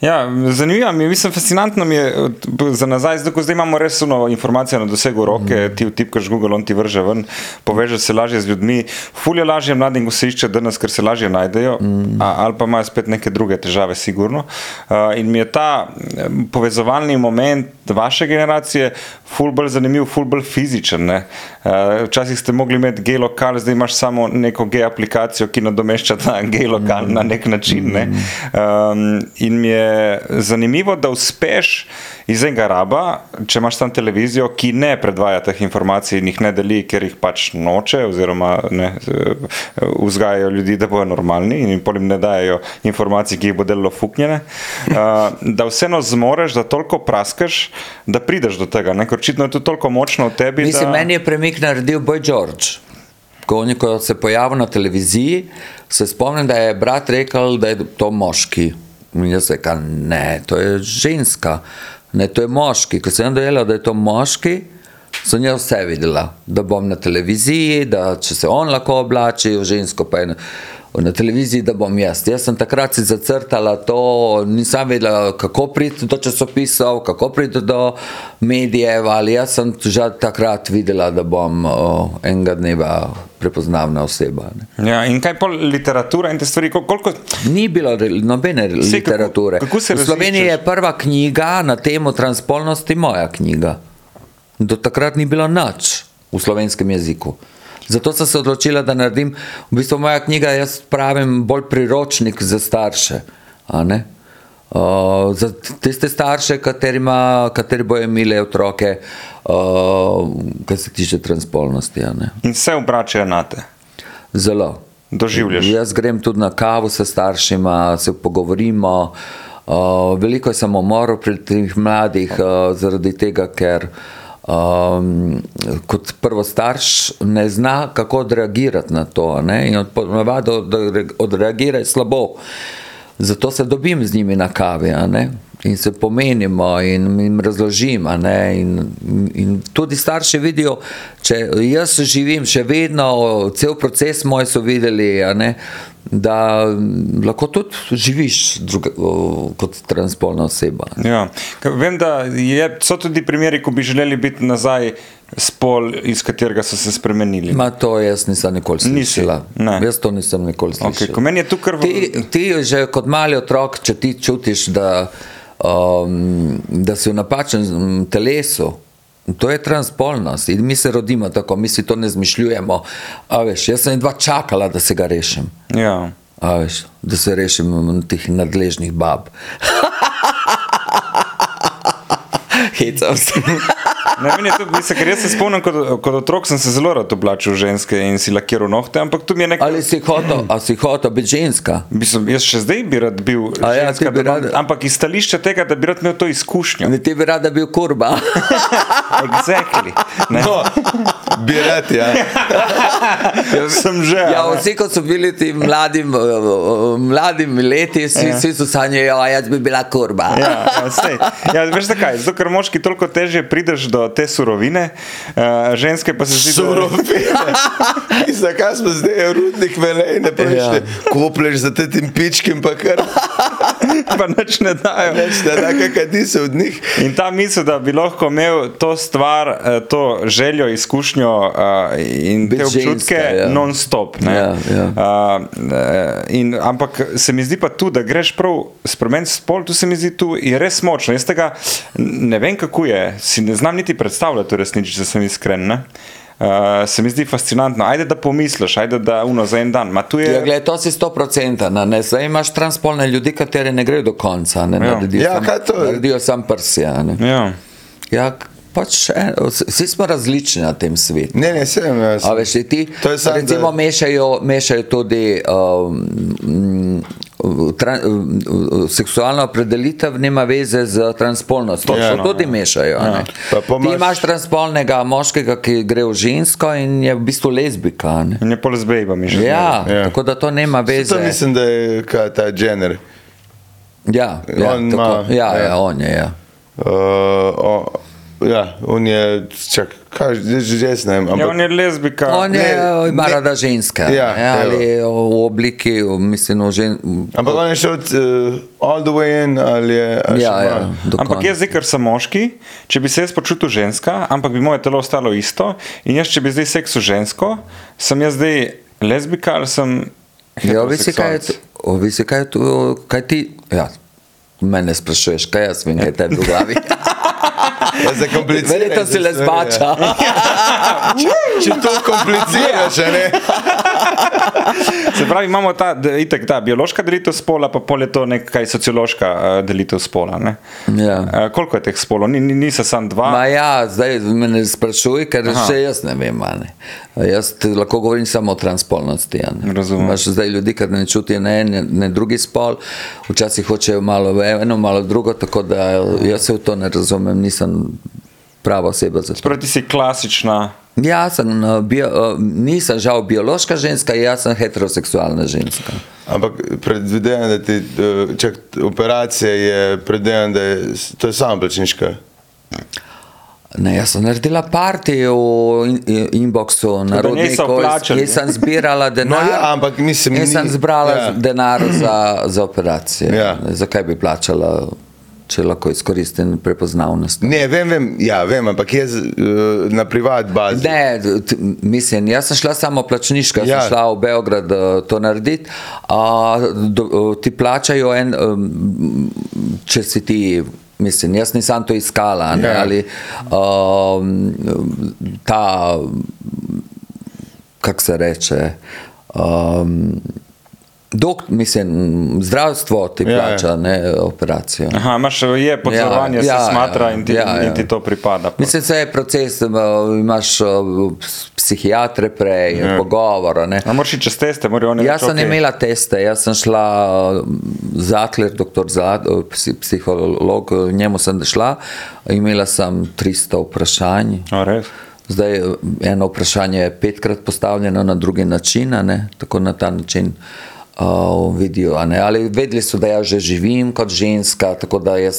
S2: Ja, zanimivo mi je, mislim, fascinantno mi je od- za nazaj, zdaj, ko zdaj imamo res uno informacijo na dosegu roke, mm. ti vtipkaš Google, on ti vrže ven, povežeš se lažje z ljudmi. Fulje lažje mladim, ko se išče danes, ker se lažje najdejo, mm. a, ali pa imajo spet neke druge težave, sigurno. Uh, in mi je ta em, povezovalni moment vaše generacije ful bolj zanimiv, ful bolj fizičen. ne. Eh, Včasih ste mogli imeti gej lokal, zdaj imaš samo neko gej aplikacijo, ki nadomešča ta gej lokal na nek način. Ne. Um, in mi je zanimivo, da uspeš iz enega raba, če imaš tam televizijo, ki ne predvaja teh informacij in jih ne deli, ker jih pač noče, oziroma ne, eh, vzgajajo ljudi, da bodo normalni in jim potem ne dajo informacij, ki jih bo delalo fuknjene. Uh, da vseeno zmoreš, da toliko praskaš, da prideš do tega. Ne? Ker očitno je to toliko močno v tebi.
S4: Mislim,
S2: da...
S4: da... meni je premik naredil Boy George. Ko, on, je- ko se je pojavil na televiziji, se spomnim, da je brat rekel, da je to moški. In jaz rekel, ne, to je ženska, ne, to je moški. Ko sem jim dojela, da je to moški, sem jaz vse videla, da bom na televiziji, da če se on lahko oblači, v žensko pa je. na televiziji, da bom jaz. Jaz sem takrat si zacrtala to, nisem vedela, kako priti do časopisov, kako priti do medijev, ali jaz sem že takrat videla, da bom o, enega dneva prepoznavna oseba. Ne.
S2: Ja, in kaj pol literatura in te stvari, kol- koliko.
S4: Ni bilo re- nobene
S2: kako-
S4: literature.
S2: kako se
S4: v Sloveniji je
S2: različiš?
S4: prva knjiga na temo transpolnosti moja knjiga. Do takrat ni bilo nič v slovenskem jeziku. Zato sem se odločila, da naredim, v bistvu moja knjiga, jaz pravim, bolj priročnik za starše. a ne. Uh, za tiste starše, katerima, kateri bojo imeli otroke, uh, kar se tiče transpolnosti. a ne.
S2: In se obračajo na te.
S4: Zelo.
S2: Doživljaš.
S4: Jaz grem tudi na kavo s staršema, se pogovorimo. Uh, veliko je samomorov pri teh mladih, uh, zaradi tega, ker um, kot prvo starš ne zna, kako odreagirati na to. a Ne? In od- ponavadi odre- odreagirajo slabo. Zato se dobim z njimi na kavi a ne, in se pomenimo in jim razložim. a ne, In, in tudi starši vidijo, če jaz živim še vedno, cel proces moj so videli, a ne, da mm, lahko tudi živiš druga, o, kot transpolna oseba.
S2: Ja. K- Vem, da je, so tudi primeri, ko bi želeli biti nazaj spol, iz katerega so se spremenili.
S4: Ma to jaz nisem nikoli
S2: Nisi,
S4: slišala.
S2: ne.
S4: Jaz to nisem nikoli slišala.
S2: Okay, ko meni je tu kar v-
S4: Ti, ti že kot mali otrok, če ti čutiš, da, um, da si v napačnem mm, telesu. To je transpolnost in mi se rodimo tako, mi si to ne zmišljujemo. A Veš, jaz sem dva čakala, da se ga rešim,
S2: Ja.
S4: A veš, da se rešim mm, teh nadležnih bab. Hecam se.
S2: Ne, meni je to, mislim, ker jaz se spomnim, kot, kot otrok sem se zelo rad oblačil v ženske in si lakiral nohte, ampak tu mi je nekaj.
S4: Ali si hotel, a si hotel biti ženska?
S2: Mislim, jaz še zdaj bi rad bil
S4: A ja, ti
S2: ženska,
S4: bi
S2: da imam-
S4: rad-
S2: ampak iz stališča tega, da bi rad imel to izkušnjo.
S4: Ne, Ti bi rada bil kurba.
S2: Exactly. Ne,
S1: No, bi rad, ja.
S2: sem že.
S4: Ja,
S2: a ne.
S4: vsi, ko so bili ti mladi, m, m, mladi leti, vsi, ja. vsi so sanjali, da jaz bi bila kurba. Ja.
S2: Ja, ja, saj. ja, veš zakaj? Zato, ker moški toliko težje prideš do te surovine, uh, ženske pa se zdi, da-
S1: Surovine. In zakaj smo zdaj rudnik velej, ne prejšte? Ja. Kopleš za te tim pičkim, pa kar
S2: pa nič ne dajo.
S1: neč, da da kadi se od njih.
S2: In ta misel, da bi lahko imel to stvar, eh, to željo, izkušnjo eh, in
S4: Biti
S2: te občutke
S4: ženska,
S2: ženska,
S4: ja.
S2: ja. non-stop. ne.
S4: Ja, ja.
S2: Eh, eh, in- Ampak se mi zdi pa tu, da greš prav spremeniti spol, tu se mi zdi, tu je res močno. Jaz tega ne vem, kako je, si ne znam niti predstavljati, v resnici, če sem iskren. ne. Eh, se mi zdi fascinantno, ajde da pomisliš, ajde da uno za en dan. Ma tu je,
S4: Ja, gled, to si 100%, na, ne, zdaj imaš transpolne ljudi, kateri ne grejo do konca, ne,
S2: Ja.
S4: naredijo,
S1: Ja,
S4: sam,
S1: kaj to je?
S4: naredijo sam prsi. a ne.
S2: ja.
S4: Ja, k- pač, en, vs- vsi smo različni na tem svetu.
S1: Ne, ne, sem jaz.
S4: A veš, ti
S1: To je samo, da-
S4: recimo mešajo, mešajo tudi um, mm, tran, um, um, seksualno opredelitev, nima veze z transpolnostjo. To
S1: Točno,
S4: ja, tudi ja. mešajo. Ja.
S1: no, Pa po
S4: Ti
S1: moje-
S4: imaš transpolnega moškega, ki gre v žensko in je v bistvu lezbika. a Ne?
S2: in je pol z bejbami že.
S4: Ja,
S1: Ja.
S4: ja, tako da to nema veze.
S1: To mislim, da je kaj, ta Jenner. Uh,
S4: Ja, ja,
S1: On
S4: tako,
S1: ima-
S4: ja,
S1: ja.
S4: ja, on je. Ja.
S1: Uh, o, ja, on je, čak, kaj, že- že jaz ne vem,
S2: Ja,
S1: ampak
S2: on je lezbika.
S4: On je
S1: ne-
S4: ima
S1: ne-
S4: rada ženske,
S1: Ja,
S4: ne, ali
S1: evo.
S4: v obliki, mislim, v žen...
S1: Ampak on je šel uh, all the way in ali je. ali
S4: ja,
S1: še
S4: ja,
S1: malo?
S4: do
S2: Ampak
S4: konca.
S2: jaz zdaj, ker sem moški, če bi se jaz počutil ženska, ampak bi moje telo ostalo isto, in jaz, če bi zdaj seksu žensko, sem jaz zdaj lezbika ali sem.
S4: Ja, visi kaj, je
S2: heteroseksualec?
S4: tu- visi kaj, je tu- kaj ti. Ja. Mene sprašuješ, kaj jaz vem, kaj tebi v glavi.
S1: Ja, zakompliciraj
S4: Verjetno
S1: se
S4: si le
S1: stvari,
S4: zbača.
S1: ja. Če to kompliciraš, a ne?
S2: Se pravi, imamo ta, da- itak, ta biološka delitev spola, pa pol je to nekaj sociološka eh, delitev spola. Ne?
S4: Ja.
S2: Eh, Koliko je teh spolov? Ni, ni, niso samo dva.
S4: Ma ja, zdaj me ne sprašuj, ker Aha. še jaz ne vem. a Ne. Jaz te lahko govorim samo o transpolnosti. a ne.
S2: Razumem.
S4: Imaš zdaj ljudi, ki ne čutijo ne en, ne drugi spol, včasih hočejo malo v eno, malo drugo, tako da jaz se v to ne razumem, nisem prava oseba za to.
S2: Sproti si klasična.
S4: Jaz sem, eh, bio, eh, nisem žal biološka ženska, jaz sem heteroseksualna ženska.
S1: Ampak predvidevam, da ti eh, čak, operacija je, predvidevam, da je, to je samoplačniška.
S4: Ne, jaz sem naredila parti v in, in, inboxu, na
S2: da niso
S4: rodniku. Jaz,
S2: plačali.
S4: jaz sem zbirala denar.
S1: ja, ampak mislim,
S4: jaz
S1: ni-
S4: sem zbrala
S1: ja.
S4: ja. denar za, za operacije.
S1: Ja.
S4: Zakaj bi plačala, če lahko izkoristim prepoznavnost?
S1: Ne, vem, vem, ja, vem ampak jaz eh, na privat bazi.
S4: Ne, t- mislim, jaz sem šla samo plačniška, ja.
S1: Ja.
S4: sem šla v Beograd eh, to narediti. A, do, eh, ti plačajo en, em, če si ti. Mislim, jaz nisem to iskala, ne,
S1: Ja.
S4: ali um, ta, kako se reče, um, dok, mislim, zdravstvo ti
S1: Ja, ja.
S4: plača, ja. ne operacijo.
S2: Aha, imaš, je podzorovanje, ja,
S4: ja,
S2: se smatra
S4: ja,
S2: in ti,
S4: ja,
S2: ja,
S4: ja.
S2: in ti to pripada.
S4: Mislim, da je proces, em, imaš eh, ps- psihiatre prej, ja. pogovor. a Ne.
S2: A moraš iti čez teste, morajo oni
S4: Jaz
S2: reči,
S4: sem okay.
S2: okej.
S4: imela teste, jaz sem šla eh, zakler, doktor Zad, psiholog, eh, njemu sem šla, imela sem 300 vprašanj.
S2: A, res.
S4: Zdaj eh, eno vprašanje je petkrat postavljeno na drugi način, a ne, tako na ta način. Uh, vidijo, a ne, ali vedeli so, da jaz že živim kot ženska, tako da jaz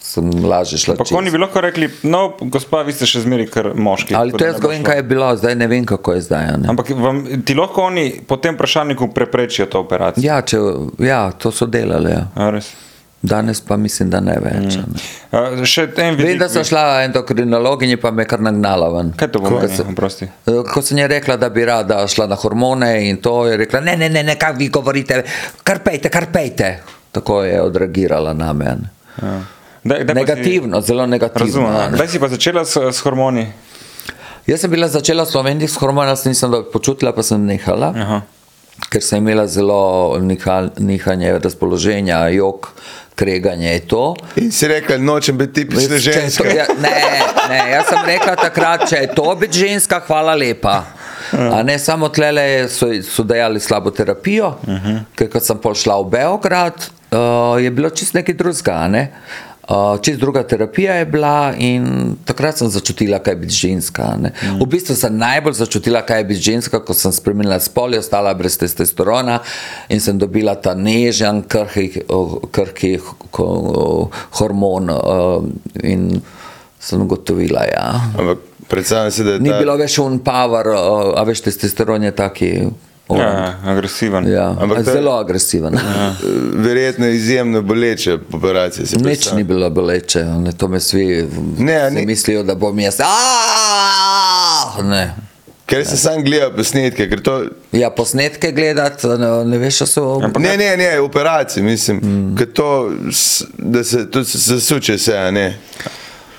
S4: sem lažje šla.
S2: Pa
S4: čez.
S2: oni bi lahko rekli, no, gospa, vi ste še zmeri kar moški.
S4: Ali
S2: tako
S4: to
S2: da
S4: jaz
S2: ne
S4: ga
S2: bo
S4: vem,
S2: šlo.
S4: kaj je bilo, zdaj ne vem, kako je zdaj. a ne.
S2: Ampak vam, ti lahko oni po tem vprašalniku preprečijo to operacijo.
S4: Ja, če, ja, to so delali. Ja.
S2: A, res.
S4: Danes pa mislim, da ne več. Mm.
S2: A, še en vidik.
S4: Vem, da sem šla endokrinologinji, pa me je kar nagnala ven.
S2: Kaj to
S4: Ko
S2: pomeni?
S4: sem-
S2: Oprosti.
S4: Ko sem ji rekla, da bi rada šla na hormone in to, je rekla, ne, ne, ne, ne kaj vi govorite, kar pejte, kar pejte. Tako je odreagirala na meni.
S2: Ja. Daj, daj pa si-
S4: Negativno, zelo negativno.
S2: Razumem.
S4: a
S2: ja.
S4: ne.
S2: Kdaj si pa začela s, s hormoni?
S4: Jaz sem bila začela v Sloveniji s hormoni, jaz nisem dobro počutila, pa sem nehala,
S2: Aha.
S4: ker sem imela zelo nihal, nihanje razpoloženja, jog, kreganje in to.
S1: In si rekel, nočem biti tipična
S4: Če je
S1: ženska.
S4: To, ja, ne, ne, jaz sem rekla takrat, če je to biti ženska, hvala lepa. A ne samo tlele so, so dajali slabo terapijo, uh -huh. ker ko sem pol šla v Beograd, uh, je bilo čist nekaj drugega. a Ne? Uh, čist druga terapija je bila in takrat sem začutila, kaj je biti ženska. a ne.
S1: Mm.
S4: V bistvu sem najbolj začutila, kaj je biti ženska, ko sem spremenila spol, je ostala brez testosterona in sem dobila ta nežen, krhki, o, krhki h- ko- o, hormon. o, In sem ugotovila, da ja.
S1: Ampak predstavljam si, da je
S4: ni
S1: ta-
S4: bilo več unpower, a veš, testosteron je taki. o,
S2: Ja, agresiven.
S4: Ja,
S1: Ampak to je-
S4: zelo agresiven.
S1: Eh, verjetno izjemno boleče operacije. si
S4: Nič
S1: predstavljam.
S4: ni bilo boleče, ne, to me svi
S1: Ne,
S4: ne,
S1: ni-
S4: mislijo, da bom jaz. "Aaaah!" Ne.
S1: Ker se sam gleda posnetke, ker to.
S4: Ja, posnetke gledati, ne, ne veš, a so.
S1: Ne, ne, ne, operacije, mislim. Mm. Ker to, s- da se tudi zasuče se, a ne.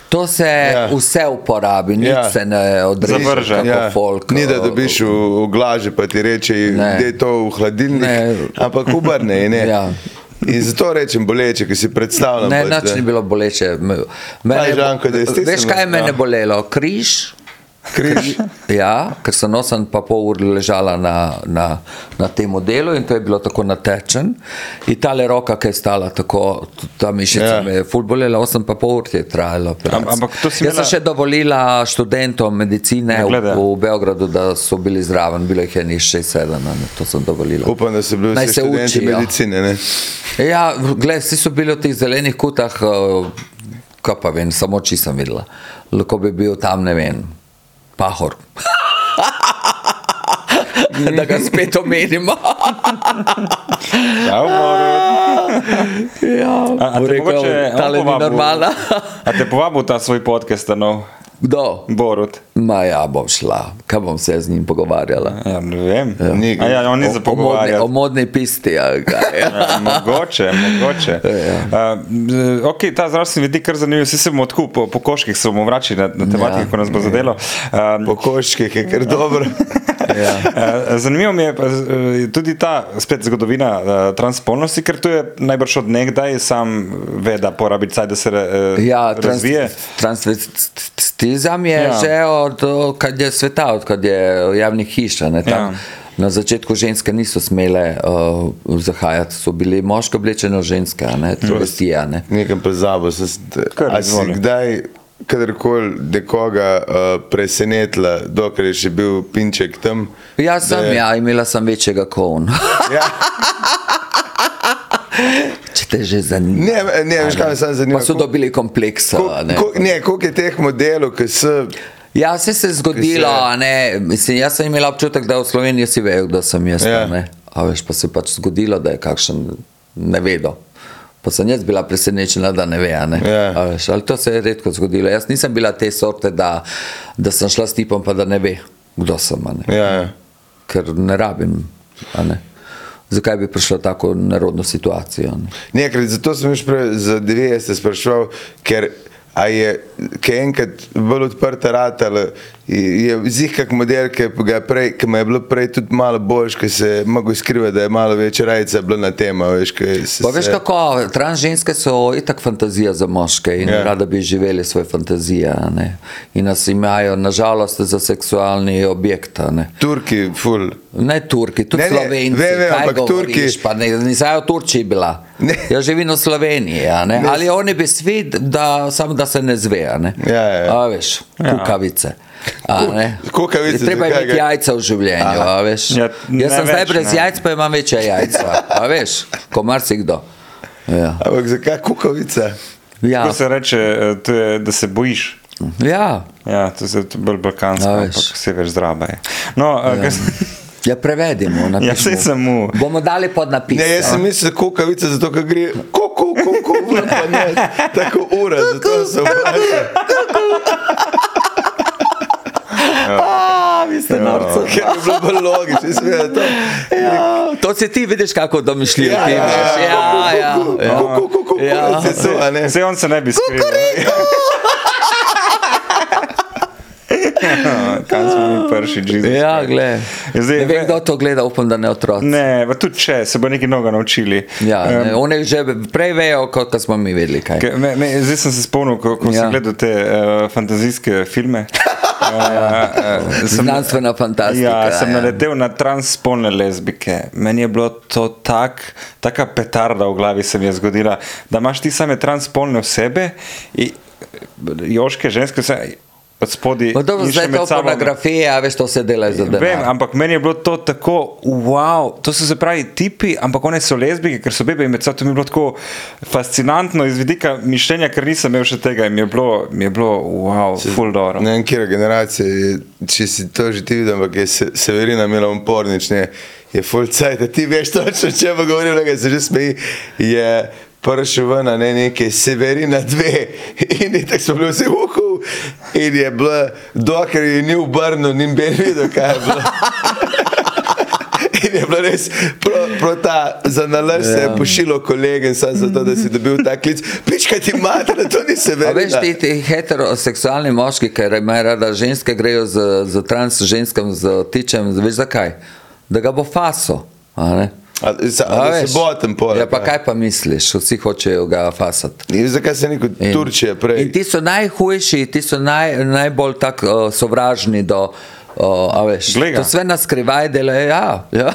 S4: To se ja.
S1: Ja.
S4: vse uporabi, nič ja.
S1: Ja.
S4: se ne odreže,
S2: Zavrže.
S4: kako folk.
S1: Ni da
S4: eh,
S1: dobiš v, v glaži, pa ti reče,
S4: Ne.
S1: da je to v hladilnik,
S4: Ne.
S1: ne. ampak obrne je. Ne.
S4: Ja.
S1: In zato rečem boleče, ker si predstavljam.
S4: Ne,
S1: pač,
S4: nič
S1: da-
S4: ni bilo boleče. Me- mene
S1: je
S4: bo-
S1: Žanko, da je stisnil?
S4: Veš, kaj je mene
S1: Ja.
S4: bolelo? Križ.
S1: Križ.
S4: Ja, ker sem nosen pa pol ure ležala na, na, na tem delu in to je bilo tako natečen. In ta le roka, ki je stala tako, t- ta mišica
S1: Ja.
S4: me je ful bolela, 8 pa pol ure je trajalo.
S2: ampak to si
S4: Jaz
S2: imela-
S4: sem še dovolila študentom medicine v,
S2: Glede.
S4: v Beogradu, da so bili zraven, bilo jih je ni 6-7, to sem dovolila.
S1: Upam, da so bili
S4: Naj
S1: vsi
S4: se
S1: študenti
S4: učijo.
S1: medicine. Ne.
S4: Ja, gled, vsi so bili v teh zelenih kutah, eh, kaj pa vem, samo oči sem videla. Lahko bi bil tam, ne vem, pahor. da ga spet omenimo.
S2: Ja, v moru.
S4: ja,
S2: A, a
S4: bo
S2: te
S4: rekel,
S2: mogoče on
S4: tale ni
S2: povabil-
S4: normalna.
S2: A te povabil v ta svoj podcast, no,
S4: Kdo?
S2: Borut?
S4: Ma ja, bom šla, kaj bom se jaz z njim pogovarjala.
S2: Ja, ne vem.
S1: Ni-
S2: A ja, on ni za
S4: O- o modni,
S2: pogovarjati.
S4: o modni pisti. ali kaj.
S2: Ja, mogoče, mogoče. Ja. Uh, okay, ta zdravstveni vidik je kar zanimiv, vsi se bomo tako po, po koških se bomo vračali na, na tematiko,
S4: Ja.
S2: ja. ko nas bo zadelo. Um,
S1: Po koščkih je kar dobro.
S4: Ja.
S2: Eh, Zanimivo mi je pa, eh, tudi ta spet zgodovina eh, transpolnosti, ker tu je najbrž od nekdaj sam veda porabiti, saj da se eh,
S4: Ja, trans,
S2: razvije.
S4: transvestizem je ja.
S2: Ja.
S4: že od eh, kad je sveta, od kad je javnih hiš. a Ne, tam, ja.
S2: Ja.
S4: Na začetku ženske niso smele uh, zahajati, so bile moško oblečene ženske, a ne travestije. Ne.
S1: Nekam pozabil sem. se, da-
S2: Kar
S1: A si
S2: izvoli.
S1: kdaj, kadarkoli nekoga uh, presenetila, dokler je še bil pinček tam?
S4: Jaz sem,
S1: je-
S4: ja, imela sem večjega kon.
S1: Ja.
S4: Če te že zanima.
S1: Ne, ne, veš, kaj me samo zanima.
S4: Pa so dobili kompleks.
S1: Ko-
S4: a ne.
S1: ko- Ne, koliko je teh modelov, ki so.
S4: Ja, se je zgodilo, a ne. Mislim, jaz sem imela občutek, da v Sloveniji vsi vejo, kdo sem jaz.
S1: Ja.
S4: a ne. A veš, pa se je pač zgodilo, da je kakšen ne vedo. Pa sem jaz bila presenečena, da ne ve. a Ne?
S1: Ja.
S4: A Veš, ali to se je redko zgodilo. Jaz nisem bila te sorte, da, da sem šla s tipom, pa da ne ve, kdo sem. a Ne?
S1: Ja, ja.
S4: Ker ne rabim. a Ne? Zakaj bi prišla v tako nerodno situacijo? a Ne?
S1: Nekrat, zato sem že prej za 90 sprašval, ker a je ki je enkrat bolj odprta rata, je zih kak model, ki ga je prej, ki me je bilo prej tudi malo boljš, ki se je mogel skrivati, da je malo več rajca bila na tema, veš, ki se...
S4: Pa veš kako, trans ženske so itak fantazija za moške in
S1: Ja.
S4: yeah. rada bi živeli svoje fantazije. a ne. In nas imajo nažalost za seksualni objekt. a Ne,
S1: Turki, ful.
S4: ne Turki, tudi
S1: Ne,
S4: ne,
S1: ne,
S4: Slovenci.
S1: vem, vem,
S4: kaj
S1: ampak
S4: govoriš,
S1: Turki-
S4: Pa ne, nisaj v Turčiji bila.
S1: Ne.
S4: Jaz živim v Sloveniji. a Ne. Ne. Ali oni bi svet, da, samo da se ne zve. a Ne.
S1: Ja, ja, ja.
S4: A, veš, kukavice. A, ne.
S1: kukavice,
S4: Treba je
S1: zakaj
S4: imeti
S1: ga-
S4: jajca v življenju. a Veš.
S2: Ja, ne
S4: Jaz sem zdaj
S2: več,
S4: brez
S2: ne.
S4: jajc, pa imam večja jajca. A veš, ko marsikdo. Ja.
S1: Ampak zakaj kukavica?
S4: Ja.
S2: Kako se reče, eh, to je, da se bojiš.
S4: Ja.
S2: Ja, to je tudi bolj balkansko,
S4: A, Ja, veš.
S2: ampak se veš zdrava. Je. No, ja.
S4: ja, prevedimo.
S2: ja,
S4: napišemo.
S2: saj samo.
S4: Bomo dali pod napis.
S1: Ne, jaz sem mislil kukavica, zato ker gre kuku, kuku, ura, pa ne, tako ura, zato se vprašam. ja,
S4: A, vi ste norci.
S1: Ker je bilo bolj logično, jaz sem vedel, da to...
S4: Ja, to si ti vidiš, kako domišljivo
S2: ja,
S4: ti imaš. Ja, ja. ja. Ja.
S1: ja.
S2: Vse on se ne bi skril. Kaj Ja, smo mi prši, že?
S4: Ja, gled.
S2: Zdaj,
S4: Ne
S2: ve-
S4: vem, kdo to gleda, upam, da ne otroci.
S2: Ne, pa tudi če se bo nekaj novega naučili.
S4: Ja,
S2: Em,
S4: ne, oni že prej vejo, kot ko smo mi vedeli. Kaj.
S2: Ke- Ne, ne, zdaj sem se spomnil, ko, ko ja.
S4: Ja.
S2: sem gledal te uh, fantazijske filme. Uh,
S4: Znanstvena fantastika.
S2: Ja, sem
S4: ja.
S2: naletel na transspolne lezbike. Meni je bilo to tak, taka petarda v glavi, se mi je zgodila, da imaš ti same transpolne osebe, in, joške, ženske, vse od spodaj.
S4: Pa dobro,
S2: in še
S4: Zdaj je
S2: med
S4: to
S2: sabo-
S4: pornografija, a veš, to se dela za denar.
S2: Vem, ampak meni je bilo to tako, wow, to so se pravi tipi, ampak one so lezbike, ker so bebe in med seboj mi je bilo tako fascinantno iz vidika mišljenja, ker nisem imel še tega in mi je bilo, mi je bilo wow, full dobro.
S1: Ne vem, kje generacija, je, če si to že ti videl, ampak je se, Severina imela umpornič, ne, je full cajt, da ti veš točno, če bo govoril, da se že smeji, je prišel ven, a ne nekaj, Severina 2 in je tako so bili vsi uhu in je bilo, dokler je ni obrnil, ni bil videl, kaj je bilo. In je bilo res pro, pro ta, za nalaž se
S2: Ja.
S1: je pošilo kolegem, samo zato, da si dobil ta klic. Pička ti mati, da to ni
S4: A
S1: severina.
S4: veš, ti, ti heteroseksualni moški, ki imajo rada ženske, grejo z, z trans ženskim, z tičem, z- veš zakaj? Da ga bo faso. A ne?
S1: A, sa, a, a se botem pol.
S4: ja, pa kaj pa misliš, vsi hočejo ga fasati.
S1: In zakaj se neko Turčije prej?
S4: In ti so najhujši, ti so naj, najbolj tako uh, sovražni do. Uh, a veš,
S2: Glej ga.
S4: to vse nas skrivaj dela, ja. ja.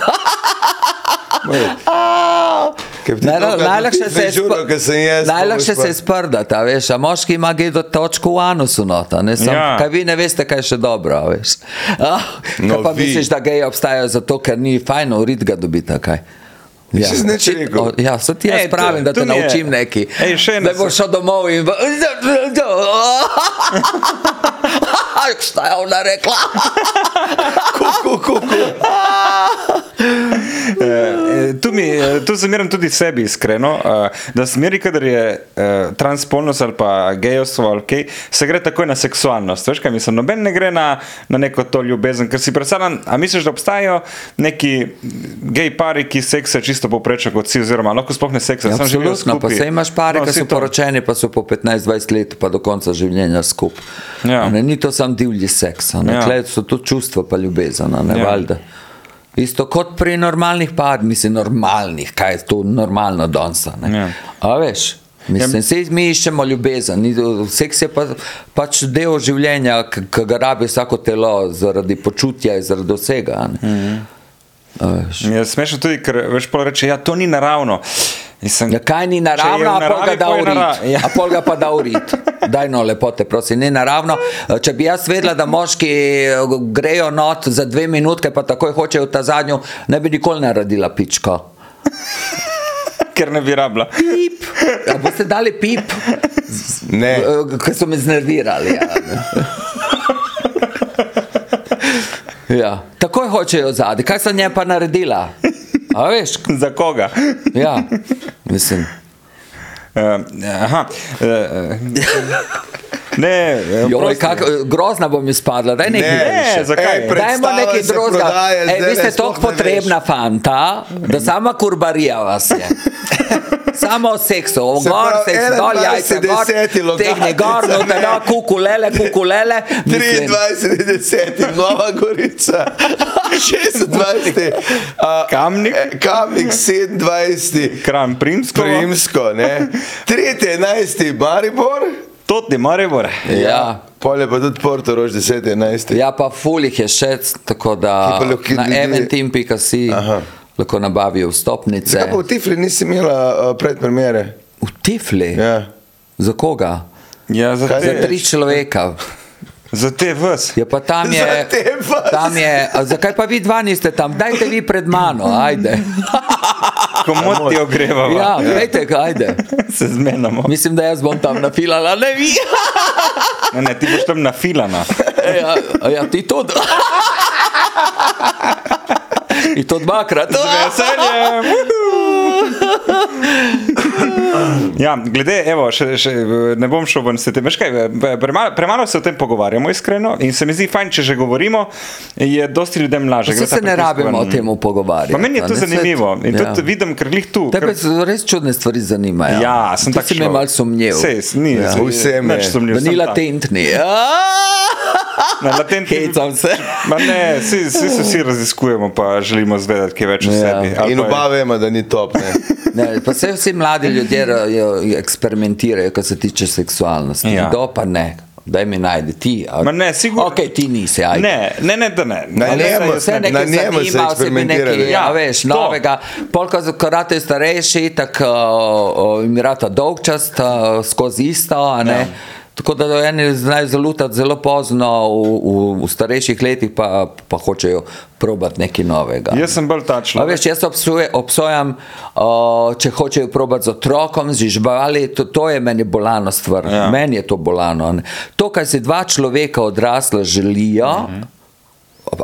S1: Ker ti to,
S4: Najla-
S1: kar
S4: Najlakše
S1: ti
S4: se je
S1: zažuro,
S4: spr-
S1: ker sem jaz, to
S4: najlakše
S1: boš
S4: se je sprdati, a veš, a moški ima gedo točko v anusu nota, ne samo,
S2: Ja.
S4: ja. kaj vi ne veste, kaj je še dobro, a veš. Ah,
S1: No,
S4: no, pa
S1: vi.
S4: vi. misliš, da geji obstajajo zato, ker ni fajn urit ga dobiti, kaj? Ja.
S1: si nič
S4: Očitno-
S1: rekel.
S4: o, ja, so ti jaz
S2: Ej, to-
S4: pravim, da
S2: to
S4: te
S2: mi je-
S4: naučim neki.
S2: Ej, še ena
S4: da boš šel domov in... v- Šta je ona rekla?
S1: Ko, ko, ko.
S2: Eh, tu, mi, eh, tu zamerim tudi sebi, iskreno, eh, da smeri, kadar je eh, transpolnost ali pa gejstvo ali kaj, se gre takoj na seksualnost. Veš, kaj mislim, noben ne gre na, na neko to ljubezen, ker si predstavljam, a misliš, da obstajajo neki gej pari, ki seksa čisto popreča kot si, oziroma lahko sploh ne seksa. samo živijo
S4: Absolutno, pa
S2: skupaj.
S4: se imaš pare,
S2: No,
S4: ki
S2: saj
S4: so
S2: to.
S4: poročeni, pa so po 15-20 let, pa do konca življenja skupaj.
S2: Ja.
S4: A Ne, ni to samo divji seks,
S2: Ja.
S4: ja. so to čustva, pa ljubezen, a ne
S2: Ja.
S4: ja. valjda. Isto kot pri normalnih parih, mislim, normalnih, kaj je to normalno danes. a ne.
S2: Ja.
S4: A veš, mislim, ja. mi iščemo ljubezen, ni- seks je pa, pač del življenja, ki ga rabi vsako telo zaradi počutja in zaradi vsega. a ne.
S2: Mhm.
S4: A veš.
S2: Mi Je smešno tudi, ker veš, pol reče, ja, to ni naravno. Mislim,
S4: Ja, kaj ni
S2: če je
S4: naravno,
S2: v
S4: a pol ga
S2: naravi,
S4: da
S2: pol je nara-
S4: urit.
S2: Ja.
S4: A pol ga pa da urit. Daj no, lepo te prosim, ni naravno. Če bi jaz vedela, da moški eh, grejo not za dve minutke, pa takoj hočejo ta zadnjo, ne bi nikoli naredila pičko.
S2: ker ne bi rabila.
S4: Pip. A boste dali pip,
S1: Ne,
S4: ki so me znervirali. Ja. Ja. Takoj hočejo zadaj, kaj sem nje pa naredila. A veš, k-
S2: Za koga?
S4: ja, mislim.
S2: Uh, aha. Uh, ne, eh,
S4: Joj,
S2: prosti.
S4: kak, grozna bom izpadla, da ne
S1: ne,
S2: Ne, zakaj?
S1: Ej,
S4: Dajmo
S1: predstava
S4: nekaj
S1: se
S4: drugega.
S1: prodaja,
S4: Ej,
S1: zdajle
S4: Vi ste
S1: sploh ne
S4: tako
S1: veš.
S4: potrebna fanta, da sama kurbarija vas je. Samo o seksu, o
S1: Se
S4: gor,
S1: pravi,
S4: seks, dol,
S1: 21
S4: jajca, gor,
S1: deseti logatica,
S4: tehne gor, no,
S1: ne.
S4: da, kukulele, kukulele. mislim.
S1: 23.10. Nova Gorica, 26. a,
S2: Kamnik.
S1: eh, Kamnik 27.
S2: Kram Primsko.
S1: Primsko, ne. 3.11. Maribor,
S2: Tot je Maribor.
S4: Ja.
S1: polje pa tudi Portorož 10.11.
S4: Ja, pa fulih je še, tako da
S1: Ki pa lahko
S4: na
S1: ljudje-
S4: eventim.si lahko nabavijo vstopnice.
S1: Zakaj pa v Tifli nisi imela uh, predpremiere?
S4: V Tifli?
S1: Ja.
S4: Za koga?
S2: Ja, za
S1: Kaj
S2: te,
S1: je?
S4: Za tri človeka.
S2: za te vs.
S4: Ja, pa tam
S1: Za
S4: je.
S1: te vas.
S4: Tam je. A zakaj pa vi dva niste tam? Dajte vi pred mano, ajde.
S2: Komod ti ogrevava.
S4: Ja, dajte, ajde.
S2: Se zmenjamo.
S4: Mislim, da jaz bom tam nafilala, ne vi.
S2: Ne, ne, ti boš tam nafilana.
S4: Ja, ja ti tudi. In to dvakrat.
S2: Veseljem! Ja, glede, evo, še, še, ne bom šel ven s tem. Veš kaj, Premalo, premalo se o tem pogovarjamo, iskreno. In se mi zdi fajn, če že govorimo, je dosti ljudem lažje. Gre
S4: Vse
S2: ta
S4: se ne
S2: pritisk
S4: rabimo o
S2: ven.
S4: tem pogovarjati.
S2: Pa meni je
S4: a
S2: to
S4: ne, saj-
S2: zanimivo. In ja. tudi vidim, ker glih tu.
S4: Tebe
S2: ker-
S4: so res čudne stvari zanimajo.
S2: Ja, sem
S4: Ti
S2: tako.
S4: si me malo sumnjev.
S2: Sej, ni,
S1: Ja.
S2: saj-
S1: Vse me.
S2: nič sumnjiv, sem
S4: Vanila
S2: tak.
S4: tentni.
S2: Na latentni.
S4: Hecam se.
S2: Ma ne, vsi, vsi se vsi raziskujemo, pa želimo zvedeti, kaj več o
S4: Ja.
S2: sebi. Ali
S1: In
S2: pa je-
S1: oba vemo, da ni top. Ne?
S4: Ne, pa se vsi mladi ljudje ra- jo- jo eksperimentirajo, kar se tiče seksualnosti.
S2: Ja.
S4: Ja. Kdo pa ne? Daj mi najdi ti.
S2: Ma ne, sigurno-
S4: Ok, ti nisi. Ajde.
S2: Ne, ne, ne, da ne.
S1: Ne,
S2: Ali
S1: ne,
S2: saj
S1: ma-
S2: jaz
S4: Vse
S2: ne-
S1: Na
S4: nekaj
S1: njemu se
S4: zanima, vse mi nekaj,
S1: eksperimentirajo.
S4: ja,
S2: Ja,
S4: veš,
S2: to.
S4: novega. Polka za karate starejši, tako uh, jim rata dolgčast, uh, skozi isto, a ne. Ja. Tako da do eni znajo zalutati zelo pozno, v, v, v starejših letih pa, pa hočejo probati nekaj novega.
S2: Jaz sem bolj ta
S4: A
S2: človek.
S4: veš, jaz obsuje, obsojam, o, če hočejo probati z otrokom, z živali, to, to je meni bolano stvar.
S2: Ja.
S4: Ja. Meni je to bolano. Ne. To, kar si dva človeka odrasla želijo,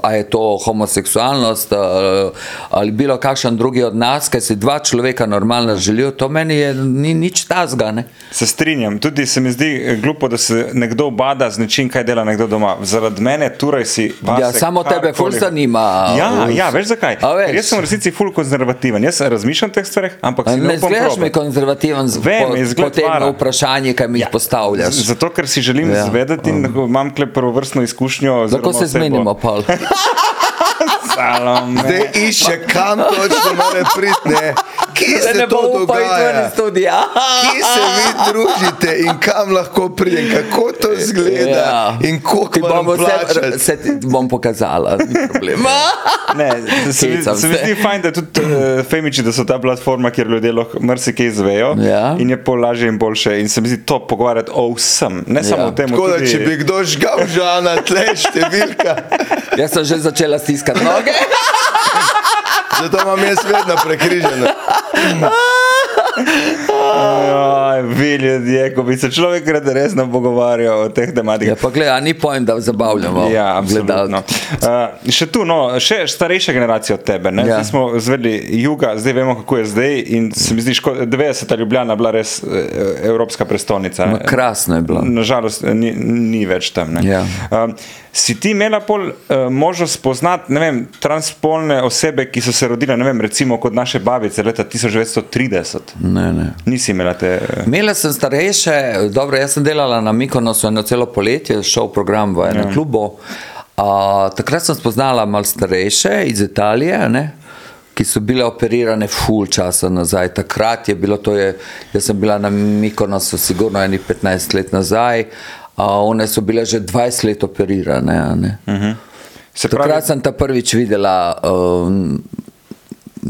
S4: a je to homoseksualnost a, ali bilo kakšen drugi od nas, kar si dva človeka normalno želijo, to meni je, ni nič tazga.
S2: Se strinjam, tudi se mi zdi eh, glupo, da se nekdo bada z nečim, kaj dela nekdo doma. Zaradi mene, torej si.
S4: Ja,
S2: pasek
S4: samo tebe ful
S2: karkoli.
S4: zanima.
S2: Ja, ja, veš zakaj?
S4: A veš?
S2: Ker Jaz sem v resnici ful konzervativen, jaz razmišljam o teh stvareh, ampak se ne
S4: Ne
S2: upam
S4: zgledaš mi
S2: probati.
S4: konzervativen z
S2: Vem,
S4: po,
S2: izgled
S4: po tem
S2: vara.
S4: vprašanju, kaj mi jih postavljaš.
S2: Ja. Z- Zato, ker si želim ja.
S4: Ja.
S2: zvedeti in imam kle prvovrstno izkušnjo.
S4: Tako se zmenimo, Paul.
S2: Salome.
S1: Zdaj išče, kam točno mora priti, ne? kje
S4: da ne
S1: se
S4: bo
S1: to
S4: upal iti ven
S1: dogaja.
S4: iz studia.
S1: Kje se vi družite in kam lahko pridem, kako to zgleda
S4: Ja.
S1: in
S4: Ti
S1: koliko moram
S4: bom vse,
S1: plačati.
S4: se ti bom pokazala, ni problema.
S2: Ne, se, mi-
S4: Hecam
S2: se mi
S4: se.
S2: zdi fajn, da tudi uh, Femiči, da so ta platforma, kjer ljudje lahko marsikaj izvejo
S4: Ja.
S2: in je pol lažje in boljše. In se mi zdi to pogovarjati o vsem, ne samo
S4: Ja.
S2: o tem,
S1: Tako da,
S2: tudi-
S1: če bi kdo žgal žana, tle številka,
S4: Jaz sem že začela stiskati noge.
S1: zato imam jaz vedno prekriženo.
S2: Aj, vi ljudje, ko bi se človek rad resno pogovarjal o teh
S4: Ja,
S2: tematikah.
S4: pa gledaj, a ni pojem, da zabavljamo.
S2: Ja, absolutno.
S4: gledalce.
S2: Uh, še tu, no, še starejša generacija od tebe. Ja.
S4: Ja.
S2: Zdaj smo zvedeli juga, zdaj vemo, kako je zdaj. In se mi zdi, da 90. Ljubljana bila res eh, evropska prestolnica.
S4: Ma,
S2: ne.
S4: Krasno je bilo.
S2: Nažalost, eh, ni, ni več tam. ne.
S4: Ja.
S2: Um, si ti imela pol uh, možnost spoznati ne vem, transpolne osebe, ki so se rodile, ne vem, recimo kot naše babice leta 1930?
S4: Ne, ne.
S2: Nisi imela te. eh,
S4: Imela sem starejše, dobro, jaz sem delala na Mikonosu eno celo poletje, šel program v
S2: Ja.
S4: enem klubu. A, takrat sem spoznala malo starejše iz Italije, a ne, ki so bile operirane full časa nazaj. Takrat je bilo to, je, jaz sem bila na Mikonosu sigurno enih 15 let nazaj, a one so bile že 20 let operirane. a Ne.
S2: Se Hm. pravi,
S4: Mhm. Takrat sem ta prvič videla um,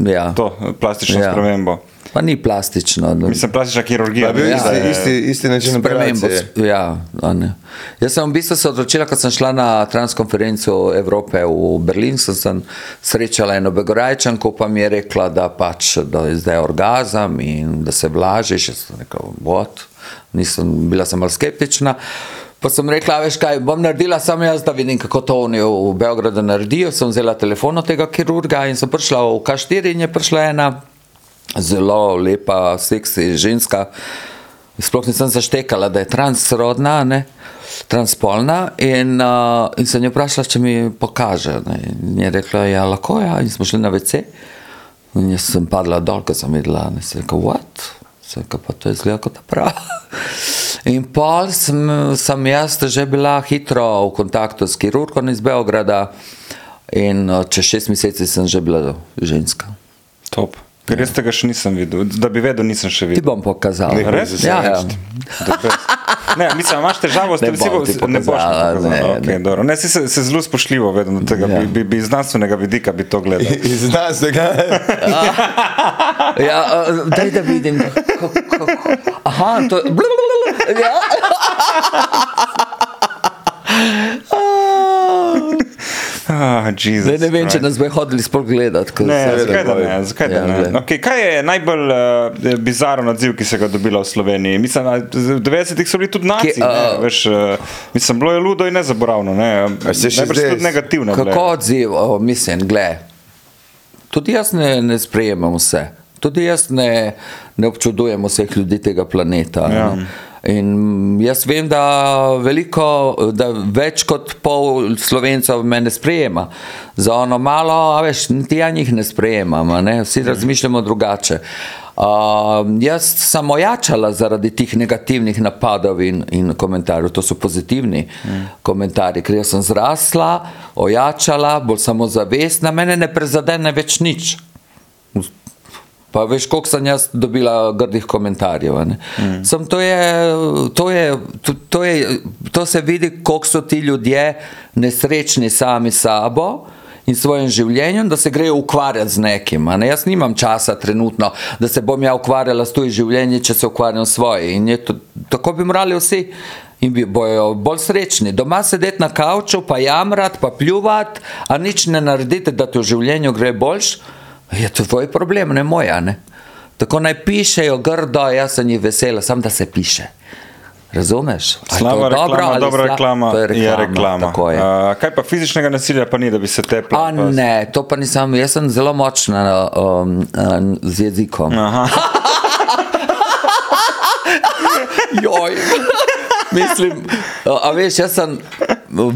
S4: ja,
S2: to eh, plastično ja.
S4: Ja.
S2: spremembo.
S4: Pa ni plastično. no.
S2: Mislim, plastična kirurgija.
S1: Ja, bil
S2: ne?
S1: ja, isti, isti, isti način
S4: Spremembo.
S1: operacije.
S4: Ja, a ne. Jaz sem v bistvu se odločila, ko sem šla na transkonferenco Evrope v Berlin, sem, sem srečala eno begorajčanko, pa mi je rekla, da pač da je zdaj orgazem in da se vlažiš. Jaz sem rekel, bot, nisem bila sem malo skeptična. Pa sem rekla, "A veš kaj, bom naredila samo jaz, da vidim, kako to oni v Beogradu naredijo. Sem vzela telefon od tega kirurga in sem prišla v K4 in je prišla ena zelo lepa, seksi ženska. Sploh nisem zaštekala, da je transrodna, ne, transpolna. In, uh, in sem jo vprašala, če mi pokaže. Ne. In je rekla, da ja, lahko je. Ja. In smo šli na WC. In jaz sem padla dol, ker sem videla, da se je rekel, what? Se je rekel, pa to je zgleda kot ta prava. In pol sem, sem jaz že bila hitro v kontaktu s kirurgom iz Beograda. In uh, čez šest mesecev sem že bila ženska.
S2: Top. Ker jaz tega še nisem videl. Da bi vedel, nisem še
S4: Ti
S2: videl.
S4: bom pokazala.
S1: Nehaj
S2: Res?
S1: se
S4: Ja, ja.
S2: The best. Ne, mislim, imaš težavo s
S4: Ne
S2: tem, si
S4: bom
S2: bo-
S4: ti
S2: ne boš
S4: pokazala,
S2: pokazala.
S4: ne,
S2: Okej,
S4: ne.
S2: dobro. Ne, si se, se zelo spoštljivo vedem do tega,
S4: Ja.
S2: bi, bi, bi iz znanstvenega vidika bi to gledal.
S1: Iz nas tega.
S4: Ja, eh, daj da vidim. Ko- ko- ko- Aha, to je. Ja.
S2: Ah,
S4: Zdaj
S2: Jezus
S4: ne vem, če
S2: Christ.
S4: nas bo hodili sploh gledati. ko
S2: Ne,
S4: se-
S2: zakaj da
S1: bojo.
S2: ne? Zakaj da
S4: Ja,
S2: ne?
S4: glej.
S2: Okay, kaj je najbolj uh, bizaren odziv, ki se ga je dobila v Sloveniji? Mislim, a v 90-ih so bili tudi naci,
S4: Ki,
S2: ne,
S4: a-
S2: veš, uh, mislim, bilo je ludo in nezaboravno. Ne?
S1: A se še
S2: Najbrž so
S1: zdaj-
S2: tudi negativno.
S4: Kako odziv, o, mislim, gled. Tudi jaz ne, ne sprejemam vse, tudi jaz ne, ne občudujem vseh ljudi tega planeta.
S2: Ja.
S4: ne. Mhm. In jaz vem, da, veliko, da več kot pol slovencev me ne sprejema. Za ono malo, a veš, niti ja njih ne sprejemam, a ne? vsi razmišljamo drugače. Uh, jaz sem ojačala zaradi teh negativnih napadov in, in komentarjev, to so pozitivni mm. komentarji, ker jaz sem zrasla, ojačala, bolj samozavestna, mene ne prezadene več nič. Pa veš, koliko sem jaz dobila grdih komentarjev. a ne. Samo to, je, to, je, to, to, je, to se vidi, koliko so ti ljudje nesrečni sami s sabo. In svojim življenjem, da se grejo ukvarjati z nekim. a Ne? Jaz nimam časa trenutno, da se bom ja ukvarjala s tujim življenjem, če se ukvarjam s svojim. In je to, tako bi morali vsi in bi bojo bolj srečni. Doma sedeti na kavču, pa jamrati, pa pljuvati, a nič ne narediti, da ti v življenju gre boljš, je to tvoj problem, ne moj. a Ne? Tako naj pišejo grdo, jaz sem jih vesela, sam da se piše. Razumeš? A je to
S2: Slaba
S4: dobro
S2: reklama,
S4: ali
S2: dobra
S4: sla-
S2: reklama,
S4: to je reklama. tako Je.
S2: Uh, kaj pa fizičnega nasilja, pa ni, da bi se teplo.
S4: A ne, to pa nisem, jaz sem zelo močna um, um, z
S2: Ja.
S4: jezikom. Joj. Mislim, a veš, jaz sem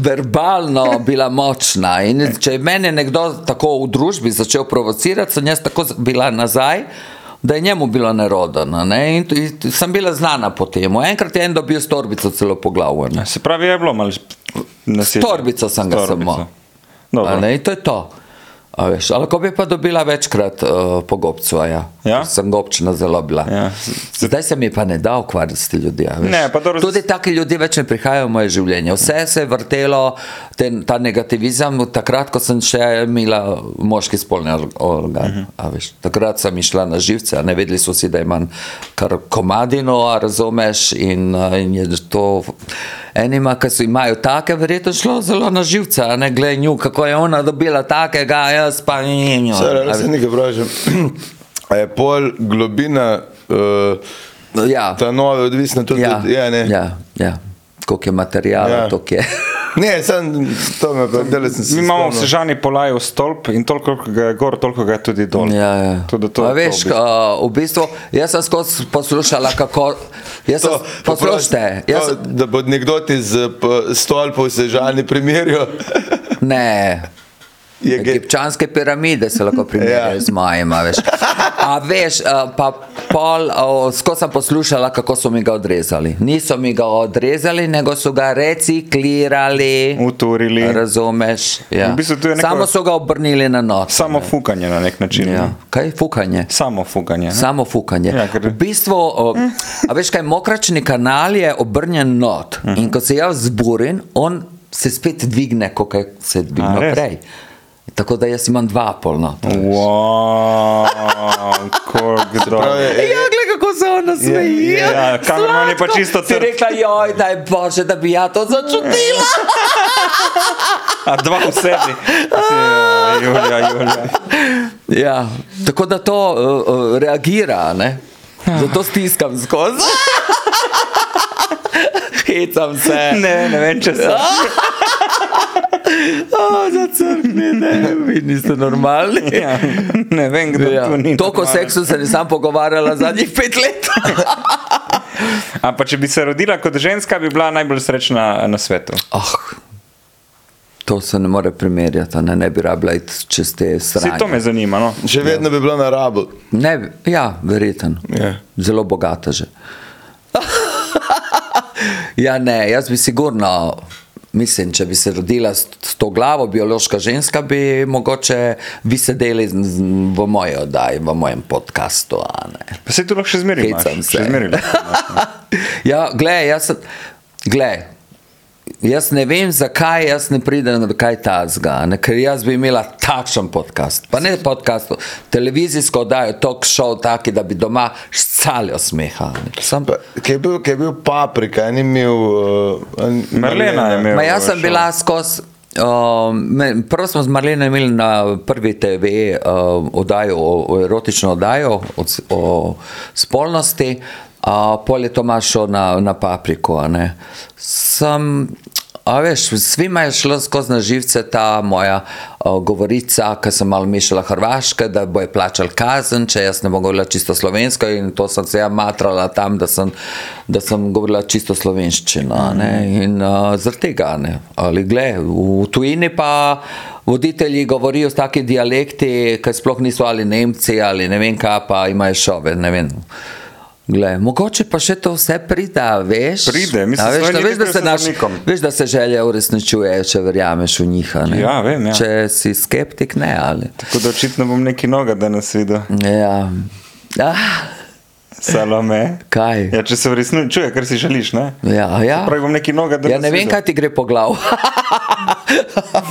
S4: verbalno bila močna. In če je mene nekdo tako v družbi začel provocirati, sem jaz tako z- bila nazaj. Da je njemu bilo nerodno. Ne? In, t- in t- sem bila znana po tem. Enkrat je en dobil s torbico celo po glavu. ne.
S2: Se pravi, je bilo malo nasilja.
S4: S torbico sem ga
S2: S torbico.
S4: samo.
S2: Dobro.
S4: A Ne, in to je to. A Veš, ali ko bi pa dobila večkrat uh, po gobcu, a ja.
S2: Ja?
S4: Ker sem gobčna zelo bila.
S2: Ja.
S4: Zdaj se mi pa ne da ukvarjati s temi ljudmi. a veš.
S2: Ne, pa dobro,
S4: Tudi taki ljudje več ne prihajajo v moje življenje. Vse se je vrtelo, ten, ta negativizem, takrat, ko sem še imela moški spolni or- organ.
S1: Mhm.
S4: Uh -huh. Takrat sem išla na živce, a ne vedeli so vsi, da imam kar komadino, a razumeš. In, a, in je to enima, ki so imajo take, verjetno šlo zelo na živce, a ne glej nju, kako je ona dobila takega, jaz pa ne njo.
S1: Sara, se nekaj vprašam. A je pol globina, uh,
S4: Ja,
S1: ta nova, odvisna tudi
S4: ja,
S1: od ja, ne.
S4: ja, ja. koliko je materijala,
S1: Ja.
S4: ja. toliko je.
S1: Ne, sem to me pa delal sem se.
S2: Mi imamo v
S1: spomnil.
S2: Sežani polajev stolp in toliko koliko ga je gor, toliko ga je tudi dol.
S4: Ja, ja.
S2: Tudi to,
S4: A
S2: to
S4: veš,
S2: v bistvu.
S4: a, v bistvu, jaz sem skozi poslušala, kako. Jaz sem,
S1: To,
S4: poslušajte,
S1: to,
S4: jaz, sem-
S1: Da bo nekdo ti z p- stolpov sežani primerjal,
S4: ne.
S1: je gej.
S4: Egipčanske piramide se lahko primerjajo
S1: Ja.
S4: z mojima. Veš. A veš, a, pa pol, a, skozi sem poslušala, kako so mi ga odrezali. Niso mi ga odrezali, nego so ga reciklirali.
S2: Uturili.
S4: Razumeš? Ja.
S2: V bistvu to je neko-
S4: Samo so ga obrnili na noč.
S2: Samo fukanje na nek način.
S4: Ja. Kaj je fukanje?
S2: Samo fukanje. ne?
S4: Samo fukanje.
S2: Ja,
S4: Ja,
S2: ker-
S4: ker... V bistvu, o, a veš kaj, mokračni kanal je obrnjen not
S2: Mhm.
S4: in ko se jaz zburim, on se spet dvigne, kot je se
S2: A,
S4: dvignil
S2: res? Mhm.
S4: prej. Tako da jaz imam dva polno.
S2: Wow, koliko
S1: Prav
S2: dobro.
S1: je, e,
S4: gled, Ja, kako se ona
S1: smeji.
S2: Ja, kamerman je pa čisto
S4: Ti
S2: trd.
S4: rekla, joj, daj bože, da bi ja to začutila.
S2: A dva v sebi. Ja, Julija, Julija.
S4: Ja, tako da to uh, uh, reagira, ne?
S2: Ah.
S4: zato stiskam skozi. Hecam se.
S2: Ne, ne vem, če
S4: Ja.
S2: se.
S4: Oh, Zacrkni, ne, vi niste normalni.
S2: Ja, ne vem, kdo ja.
S4: Ja.
S2: to ni.
S4: Toliko
S2: normalen.
S4: seksu se nisem pogovarjala zadnjih pet let.
S2: A pa če bi se rodila kot ženska, bi bila najbolj srečna na svetu.
S4: Oh,
S2: Ah.
S4: to se ne more primerjati, a ne, ne bi rabila iti čez te
S2: Vse to me
S4: strani.
S2: zanima. No.
S1: še vedno bi bilo na rabu.
S4: Ne, bi- ja, verjeten.
S1: Ja.
S4: Zelo bogata že. ja, ne, jaz bi sigurno. Mislim, če bi se rodila s s to glavo, biološka ženska, bi mogoče vi sedeli z- z- v moji oddaji, v mojem podkastu. a ne.
S2: Pa se tu lahko še zmeri. imaš,
S4: Hecam se.
S2: Še zmeri. lahko imaš.
S4: Ja, glej, jaz, sem- glej, jaz ne vem, zakaj jaz ne pridem do kaj tazga, ne? ker jaz bi imela takšen podcast, pa ne podcast, televizijsko oddajo, talk show, taki, da bi doma šcalijo smeha. ne. Sam,
S1: Pa, Kaj je bil, kaj je bil paprika, ni imel. Uh, a ni-
S2: Marlena je imela.
S4: Ma jaz sem bila skozi. Um, prvo smo z Marleno imeli na prvi TV um, oddajo, o, o erotično oddajo o, s- o spolnosti, a pol je Tomaš šel na, na papriko. a ne. Sem, a veš, svima je šlo skozi na živce ta moja uh, govorica, ki sem malo mešala hrvaške, da bojo plačali kazen, če jaz ne bom govorila čisto slovensko in to sem se ja matrala tam, da sem, da sem govorila čisto slovenščino. a Ne? In uh, zaradi tega ne. Ali gle, v tujini pa voditelji govorijo s taki dialekti, ki sploh niso ali Nemci ali ne vem kaj, pa imajo šove, ne vem. Gle, mogoče pa še to vse pride, a veš?
S2: Pride, mislim,
S4: A veš,
S2: Slovenija
S4: da, veš, da
S2: je
S4: se naš,
S2: zapornikom.
S4: veš, da se želja uresničuje, če verjameš v njih. a ne.
S2: Ja, vem, ja.
S4: Če si skeptik, ne ali.
S2: Tako da očitno bom neki noga danes videl.
S4: Ja. Ah,
S2: Salome.
S4: kaj?
S2: Ja, če se resnično čuje, kar si želiš, ne?
S4: Ja, ja.
S2: Pravi bom neki noga danes.
S4: ja ne vem,
S2: videl.
S4: kaj ti gre po glavu.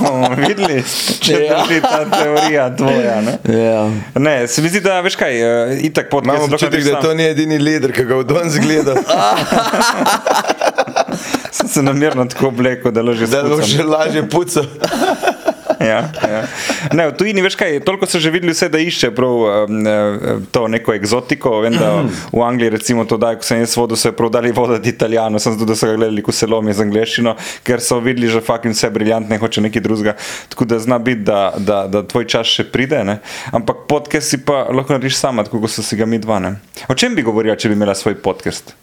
S2: bomo videli, če
S4: Ja.
S2: drži ta teorija tvoja. Ne?
S4: ja.
S2: Ne, se mi zdi, da veš kaj, eh, itak podcast.
S1: Imam
S2: lahko
S1: občutek, da
S2: narediš sam.
S1: to Ah, ni edini leder, ki ga v Donz gleda,
S2: Sem se namerno tako obleko, da lažje
S1: da bo
S2: spucam.
S1: še lažje puca.
S2: ja, ja. Ne, v tujini veš kaj, toliko so že videli vse, da išče prav um, eh, to neko eksotiko. Vem, da
S4: Mhm.
S2: v Angliji recimo to dajo, ko sem jaz vodil, so je prodali vodati italijano, sem zdaj, da so ga gledali, ko se lomi z angleščino, ker so videli že fucking vse briljantne, hoče nekaj drugega. Tako da zna biti, da, da, da tvoj čas še pride, ne? ampak podcast si pa lahko narediš sama, tako kot so si ga mi dva. Ne? O čem bi govorila, če bi imela svoj podcast?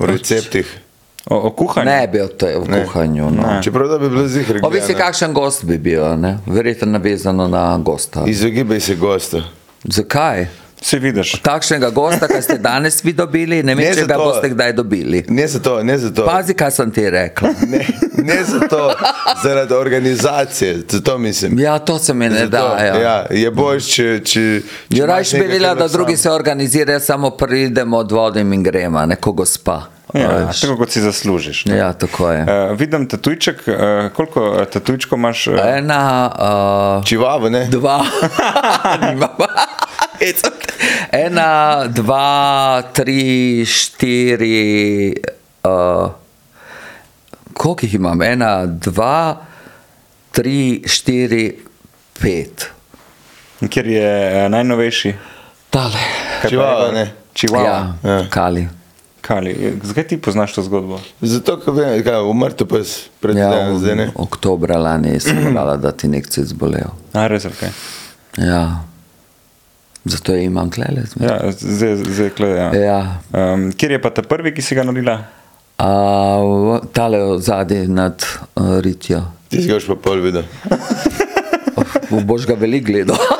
S1: V receptih.
S2: O, o kuhanju?
S4: Ne bi o te- v kuhanju. No.
S1: Čeprav da bi bilo zihar.
S4: Ovisi, kakšen gost bi bil, a ne? verjetno navezano na gosta.
S1: Izogibaj se gosta.
S4: Zakaj?
S2: Se vidiš.
S4: Takšnega gosta, ki ste danes vi dobili, ne
S1: Ne
S4: vem, če ga
S1: zato.
S4: boste kdaj dobili.
S1: Ne zato, ne zato.
S4: Pazi, kaj sem ti rekla.
S1: Ne, ne zato, zaradi organizacije, zato mislim.
S4: Ja, to se mi ne
S1: Zato,
S4: da. Ja.
S1: ja, je boš, če. če, če
S4: Jo,
S1: imaš
S4: Rajš bi
S1: nekaj,
S4: videla,
S1: kar
S4: da
S1: sam-
S4: drugi se organizirajo, samo pridemo od vode in gremo, neko gospa. A
S2: Ja,
S4: veš.
S2: tako kot si zaslužiš. ne.
S4: ja, tako je.
S2: Uh, vidim tatujček, uh, koliko eh, tatujčkov imaš? Uh,
S1: Ja.
S4: Ena, uh,
S1: Čivavo, ne?
S4: dva, nimam. Hecam te. Ena, dva, tri, štiri. Uh, koliko jih imam? Ena, dva, tri, štiri, pet. Eh?
S2: kjer je uh, najnovejši?
S4: Tale.
S2: Kaj
S1: Čivava,
S2: pravi?
S1: ne.
S2: Čivava.
S4: Ja,
S1: Ja.
S4: kali.
S2: Kali, eh, zakaj ti poznaš to zgodbo?
S1: Zato, ker vem, kaj, umrl pes pred
S4: Ja,
S1: dnevom, zdaj ne.
S4: oktobra lani sem brala, da ti nekci zbolel.
S2: A, res, okay.
S4: Ja. Zato jo imam klele z menim.
S2: ja, zdaj, zdaj, kle, ja.
S4: Ja.
S2: Um, kjer je pa ta prvi, ki si ga naredila?
S4: A, v- Tale zadnji nad uh, Ritijo.
S1: Ti si ga boš pa pol videl.
S4: Oh, boš ga veliko gledal.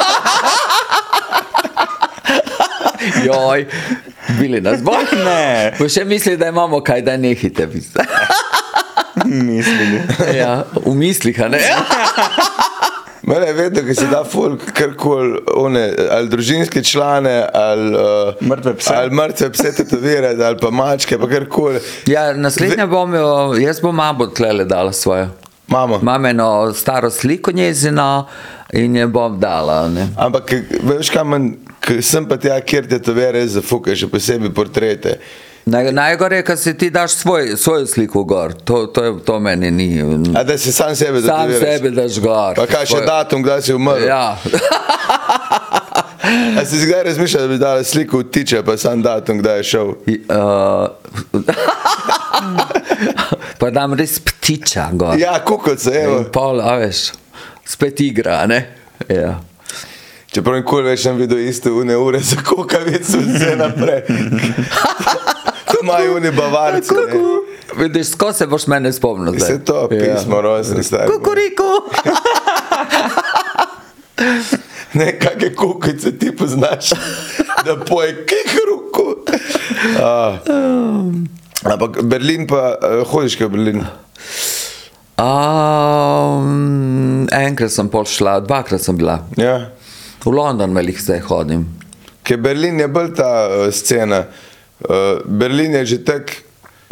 S4: Joj, bili nas bolj.
S2: Ne.
S4: Bo še mislili, da imamo kaj, da nehite. pisati.
S2: Mislili.
S4: ja, v mislih, a ne?
S1: Ja. Mene je vedno, ki se da ful, karkoli, one, ali družinske člane, ali, uh,
S2: Mrtve pse.
S1: ali mrtve pse tetovirati, ali pa mačke, pa karkoli.
S4: Ja, naslednja bom, jo- jaz bom abo tlele dala svojo.
S1: Mamo.
S4: Imam eno staro sliko njezino in jo bom dala. a Ne.
S1: Ampak ke- veš, kam sem pa tja, kjer te to vere zafuka, še posebej portrete.
S4: Naj, najgore je, kad si ti daš svoj, svojo sliko gor, to, to, je, to meni ni.
S1: A da si sam sebe
S4: Sam
S1: zavedeš.
S4: sebe daš gor.
S1: Pa kaj še
S4: Svojo-
S1: datum, kdaj si umrl?
S4: Ja,
S1: A si si kdaj razmišljal, da bi dala sliko v tiče, pa sam datum, kdaj je šel?
S4: I, uh, pa dam res ptiča gor.
S1: Ja, kukoce, evo.
S4: In pol, a veš, spet igra, a ne? Ja.
S1: Čeprav nikoli več ne vidim iste une ure za kukavico in vse naprej. To imajo oni bavarci. ne.
S4: Vidiš, skoro se boš mene spomnil. zdaj.
S1: Vse to
S4: Ja.
S1: pismo rojstni stari.
S4: Kukuriku!
S1: Ne, kakšne kukice ti poznaš, da poje kihruku. Ampak Berlin pa, eh, hodiš kaj v Berlin.
S4: Um, enkrat sem pol šla, dvakrat sem bila.
S1: Ja.
S4: V London velik zdaj hodim.
S1: Ker Berlin je bolj ta eh, scena. Eh, Berlin je že tako.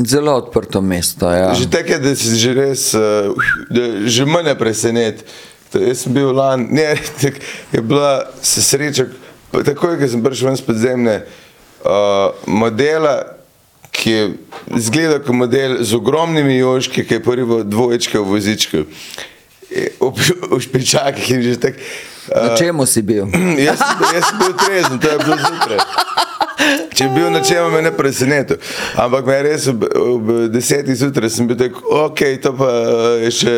S4: Zelo odprto mesto. Ja.
S1: Že tako je, da si že res, eh, da že manj presenet. To, jaz sem bil lani, ne, tak, je bila se sreča, pa takoj, ko sem prišel ven iz podzemne, uh, modela, ki je izgledal kot model z ogromnimi joški, ki je porival dvoječke v vozičku. Eh, ob- V špičakih in že tako.
S4: Na
S1: eh,
S4: čemu si bil?
S1: Jaz, sem bil- jaz sem bil trezen, to je bilo zjutraj. Če bi bil na čem, me ne preseneča. Ampak me je res ob, ob desetih zjutraj sem bil tako, ok, to pa eh, je še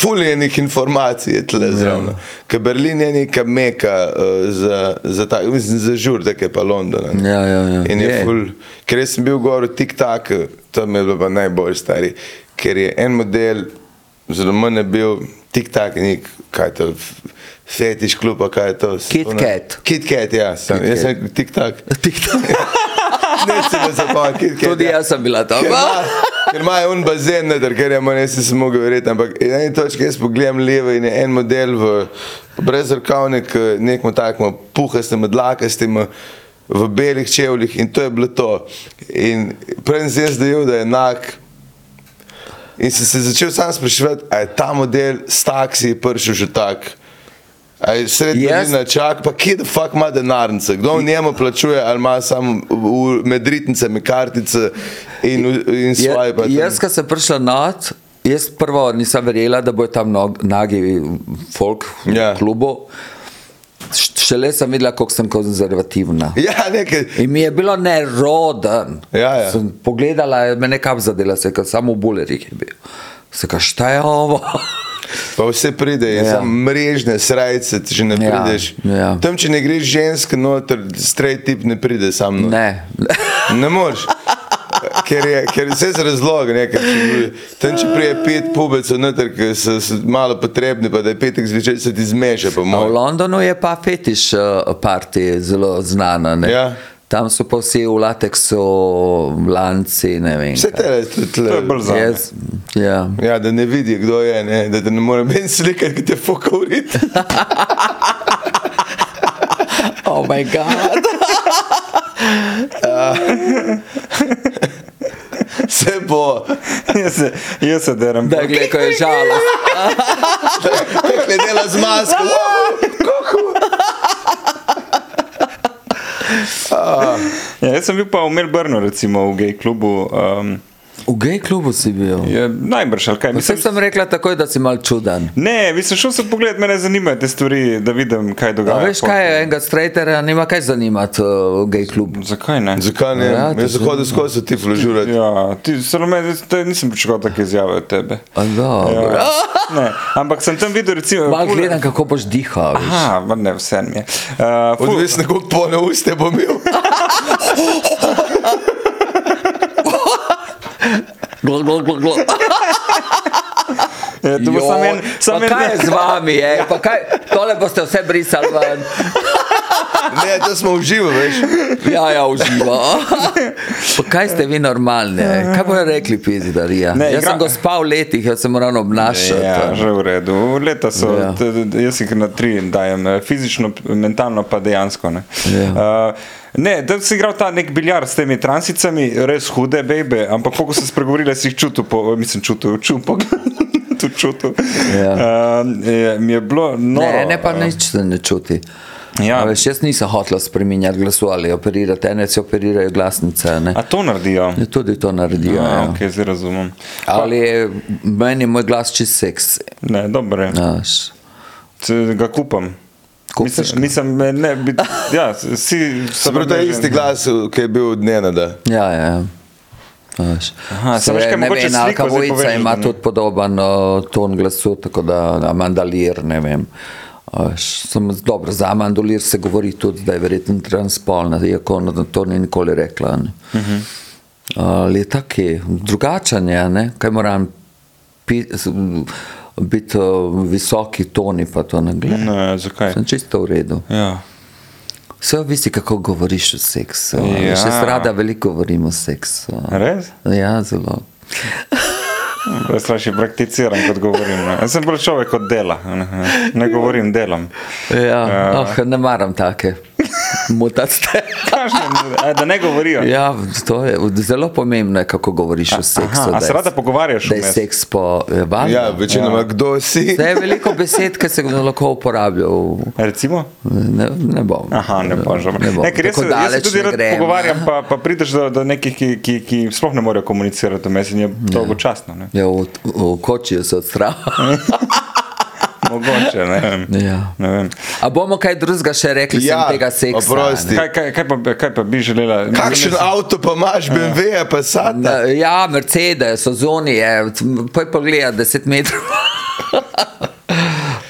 S1: fuljenih informacij je tle
S4: Ja.
S1: zraven. Ker Berlin je neka meka eh, za, za, ta, mislim, za žur, tako je pa London. ne.
S4: Ja, ja, ja.
S1: In je
S4: Je.
S1: ful, Hm. ker jaz sem bil gor v TikTok, tam je bilo pa najbolj stari, ker je en model, zelo manj je bil TikTok, nek, kaj je to, f- fetiš klub, a kaj je to. se
S4: Kit
S1: to ne-
S4: Kat.
S1: Kit Kat, ja, sem,
S4: Kit
S1: jaz
S4: Kat.
S1: sem TikTok.
S4: TikTok.
S1: Ne, se ne zapomnim, Kit Kat.
S4: Tudi
S1: ja.
S4: jaz sem bila tam.
S1: Ker ima- Ker imajo un bazen, ne, ker je manj, jaz nisem mogel verjeti, ampak na eni točki jaz pogledam levo in je en model v brezrkavnik, nekmo takmo puhastem, dlakastem, v belih čevljih in to je bilo to. In prej sem jaz dejal, da je enak. In sem se začel sam spraševati, ali je ta model s taksi prišel že tak. Ali je sredi
S4: Jaz-
S1: yes. na čak, pa kje da fuk ima denarnice, kdo v njemu plačuje, ali ima samo v- v- med ritnicami kartice in, v- in svoje. pa tam.
S4: Ja, jaz, ko sem prišla not, jaz prvo nisem verjela, da bo tam nog, nagi folk
S1: Ja.
S4: v yeah. klubu. Š- Šele sem videla, kako sem konzervativna.
S1: Ja, nekaj.
S4: In mi je bilo neroden.
S1: Ja, ja.
S4: Sem pogledala, je me nekam zadela, se je samo v bulerjih je bil. Se kaj, šta je ovo?
S1: Pa vse pride, ja.
S4: Ja.
S1: samo mrežne srajce, če ne
S4: Ja,
S1: prideš.
S4: ja.
S1: Tam, če ne greš žensk noter, straight tip ne pride sam. noter.
S4: ne.
S1: Ne moreš. Ker je, ker je vse z razlogom, ne, ker če, bi- tam, če prije pet pubecov, noter, ki so, so malo potrebni, pa da je petek zvečer se ti zmeša. po
S4: A v
S1: moje.
S2: No,
S4: Londonu je pa fetiš eh, parti zelo znana. Ne?
S1: Ja.
S4: Tam so pa vsi v lateksu, v lanci, ne vem.
S1: Vse
S4: kaj.
S1: te tudi tle.
S2: To je bolj za.
S4: Jaz, ja.
S1: Ja, da ne vidi, kdo je, ne, da te ne more meni slikati, ki te fuka uriti.
S4: Oh, moj bog.
S1: Vse bo.
S2: Jaz se, jaz se derem.
S4: Da, gled, ko je žalost.
S1: Tako je dela z masko.
S2: Ja, jaz sem bil pa v Melbournu, recimo v gej klubu. Um,
S4: V gej klubu si bil.
S2: je, najbrž, ali kaj.
S4: Vse
S2: Mislim,
S4: sem rekla takoj, da si mal čuden.
S2: ne, mislim, šel sem pogled, mene zanimajo te stvari, da vidim, kaj
S4: A
S2: dogaja.
S4: veš kaj, je, enega strejtera nima kaj zanimati uh, v gej klubu.
S2: Zakaj ne?
S1: Zakaj ne?
S4: Ja,
S1: Ja,
S4: to
S1: Jaz sem
S4: se-
S1: hodil skozi ti fložurati.
S2: Ja, ti samo meni, te nisem pričakoval take izjave od tebe.
S4: A dobro.
S2: Ja, ne, ampak sem tam videl, recimo,
S4: Mal
S2: ful-
S4: No. gledam, kako boš dihal. veš.
S2: Aha, ma ne, vse mi je. Uh, ful-
S1: Odvisno, koliko polne uste bom imel.
S4: Glo, glo, glo, glo.
S2: Ja, to bo samo en,
S4: Joj,
S2: samo
S4: pa
S2: en, Ja.
S4: kaj je z vami, je? Pa kaj, tole boste vse brisali ven.
S1: Ne, to smo uživo, veš.
S4: Ja, ja, uživo. Pa kaj ste vi normalni? ej? Kaj bojo rekli, pizdarija?
S2: Ne,
S4: Jaz
S2: igra-
S4: sem gospa v letih, jaz sem moral obnašati. eh.
S2: Ja, že v redu. Leta so,
S4: Ja.
S2: ja. jaz jih na tri dajem, eh, fizično, p- mentalno pa dejansko. Ne,
S4: Ja.
S2: uh, ne da si igral ta nek biljar s temi transicami, res hude bebe, ampak kako so se spregovorili, si jih čutil, po, mislim, čutil, čutil. tu čutil.
S4: Ja.
S2: Um, je, mi je bilo noro.
S4: Ne, ne pa nič se ne čuti.
S2: No, Ja.
S4: A Veš, jaz nisem hotel spremenjati glasu ali operirati, ene se operirajo glasnice. Ne?
S2: A to naredijo?
S4: Ja, Tudi to naredijo.
S2: Ja,
S4: Ja,
S2: ja. Okay, zdaj razumem.
S4: Ali je meni je moj glas čist seks?
S2: Ne, dobro
S4: Ja.
S2: je.
S4: Znaš,
S2: Če Ga kupam.
S4: Kupiš
S2: Mislim,
S4: ga?
S2: mislim, ne, ne bi, ja, si,
S1: Se pravi, to je isti glas, ki je bil od Nenada.
S4: Ja, ja. Veš.
S2: Aha,
S4: Se
S2: samo še kaj,
S4: ne
S2: mogoče
S4: vem,
S2: sliko
S4: Alka
S2: zdaj
S4: Vojica
S2: poveš,
S4: ima
S2: da ne.
S4: tudi podoben uh, ton glasu, tako da a mandalir, ne vem. A veš, Sem, dobro, za mandolir se govori tudi, da je verjetno transpolna, iako ona to ni nikoli rekla. Ne. Uh
S2: Mhm.
S4: -huh. Ali je taki, drugačen je, ne? kaj moram pi- s- m, biti uh, visoki toni, pa to ne gledam.
S2: Ne, zakaj?
S4: Sem čisto v redu.
S2: Ja.
S4: Vse visi, kako govoriš o seksu.
S2: Ja.
S4: Ja. Še rada veliko govorim o seksu.
S2: Res?
S4: Ja, zelo.
S2: Jaz raje prakticiram, kot govorim. Ne. Jaz sem bolj človek od dela, ne, ne govorim delam.
S4: Ja, oh, ne maram take. Mutaste.
S2: Kažem, eh, da ne govorijo.
S4: Ja, to je zelo pomembno, je, kako govoriš o seksu.
S2: aha, a
S4: da
S2: se
S4: je-
S2: rada pogovarjaš
S4: Da je
S2: vmes?
S4: seks po valu.
S1: Ja, večinoma kdo si.
S4: Da je veliko besed, ki se ga lahko uporablja. v-
S2: Recimo?
S4: Ne, ne bom.
S2: Aha, ne boš.
S4: Ne bom.
S2: Ne, ker jaz,
S4: Tako
S2: se- jaz se
S4: daleč
S2: tudi
S4: ne
S2: rad
S4: grem.
S2: pogovarjam, pa, pa prideš do, do nekih, ki, ki, ki sploh ne morejo komunicirati, vmes in je dolgočasno. Ne.
S4: Ja, v, v kočijo se odstrava.
S2: Mogoče, ne vem.
S4: Ja.
S2: Ne vem.
S4: A bomo kaj drugega še rekli,
S1: Ja,
S4: ja, tega seksa?
S1: oprosti.
S2: Kaj, kaj, kaj, pa, kaj pa bi želela? Ne,
S1: Kakšen
S2: ne-
S1: avto pa
S4: Ja.
S1: imaš, BMW, pa sad?
S4: Na- Ja, Mercedes, Ozoni je, poj pogleda 10 metrov.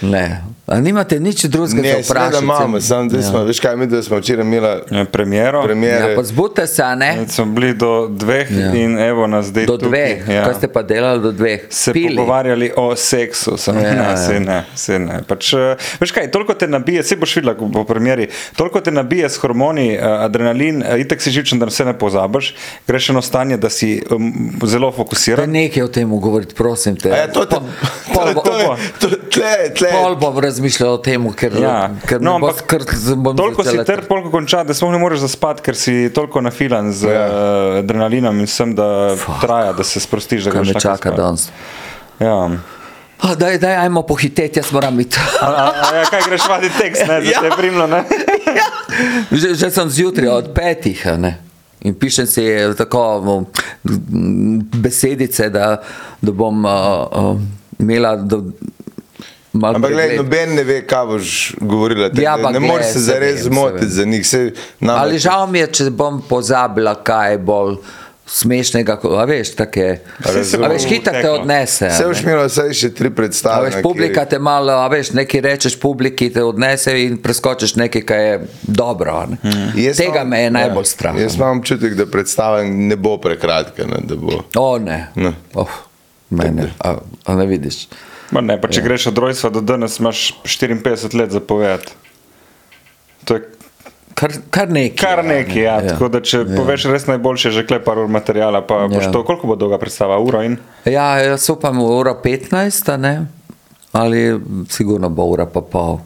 S4: ne. A nimate nič drugega,
S1: Ne,
S4: da
S1: seveda
S4: vprašate?
S1: imamo, samo da smo, veš kaj, mi da smo včeraj imeli
S2: ne, eh, Premiero.
S1: premjere.
S4: Ja, pa zbudite se, a ne?
S2: Smo bili do dveh ja.
S4: Ja.
S2: in evo nas zdaj
S4: Do
S2: tukaj.
S4: dveh.
S2: Ja.
S4: Kaj ste pa delali do dveh?
S2: se Pili.
S4: Pili.
S2: pogovarjali o seksu, samo ja,
S4: Ja,
S2: ne,
S4: ja.
S2: se ne, se ne. Pač, eh, veš kaj, toliko te nabije, se boš videla po premjeri, toliko te nabije s hormoni, eh, adrenalin, eh, itek si živčen, da vse ne pozabiš, greš v eno stanje, da si um, zelo
S4: Da
S2: fokusiran.
S4: nekaj o tem govoriti, prosim te.
S1: A Ja, to te, to,
S4: pol
S1: to,
S4: bo-
S1: to, to, tle, tle.
S4: Pol bom razmišljal o tem, ker,
S2: Ja.
S4: ja. ker no, bo skrt, bom
S2: toliko si
S4: začela
S2: ter, toliko konča, da sploh ne moreš zaspati, ker si toliko nafilan z
S1: Ja.
S2: yeah. adrenalinom in vsem, da Fuck. traja, da se sprostiš, da
S4: Kaj
S2: greš
S4: me
S2: lahko
S4: čaka
S2: spat.
S4: danes?
S2: Ja.
S4: A, Daj, daj, ajmo pohiteti, jaz moram iti.
S2: A, a, a, ja, kaj greš vadi tekst, ne, da ja. te je primlo, ne?
S4: Že, že sem zjutraj od petih. a Ne? In pišem si tako m, m, besedice, da, da bom uh, uh, imela. Do, malo
S1: Ampak gled,
S4: pregled.
S1: noben ne ve, kaj boš govorila. tako
S4: Ja,
S1: da
S4: pa
S1: ne moreš se
S4: glej, se
S1: zares
S4: vem, se
S1: zmotiti
S4: vem.
S1: za njih. Se, nam,
S4: Ali žal mi je, če bom pozabila, kaj je bolj smešnega, ko- a veš, take.
S2: Vsi se
S4: A
S2: bo
S4: veš, hitro te
S2: uteklo.
S4: odnese. a
S1: Vse
S4: Ja, ne.
S1: boš imela vsaj še tri
S4: A
S1: predstave.
S4: veš, publika te malo, a veš, nekaj rečeš publiki, te odnese in preskočiš nekaj, kar je dobro. a Ne? Mm.
S1: Hmm. Jaz
S4: Tega
S1: imam- Ja.
S4: me je najbolj strah. no.
S1: Jaz imam občutek, da predstava ne bo prekratka. Ne, da bo.
S4: O ne,
S1: Ne.
S4: Oh, mene, a, a ne vidiš.
S2: Ma ne, pa če ja. greš od rojstva do danes, imaš 54 let za povedati. To je
S4: Kar, kar nekaj.
S2: kar nekaj, ja.
S4: Ja.
S2: ja. Tako da če ja. poveš res najboljše, že klej par ur materijala, pa ja. boš
S4: Ja.
S2: to, koliko bo dolga predstava, uro in
S4: Ja, jaz upam, ura 15, a ne? ali sigurno bo ura pa pol.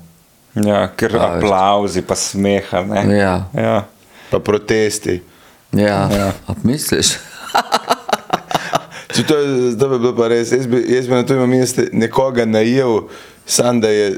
S2: ja, ker
S4: Ja,
S2: ja,
S4: veš.
S2: aplauzi, pa smeha. Ne.
S4: Ja.
S2: Ja.
S1: Pa protesti.
S4: Ja,
S2: Ja.
S4: ja. A, misliš?
S1: Če to, je- to bi bilo pa res. Jaz bi, jaz bi na to imel mesto nekoga najel, sam da je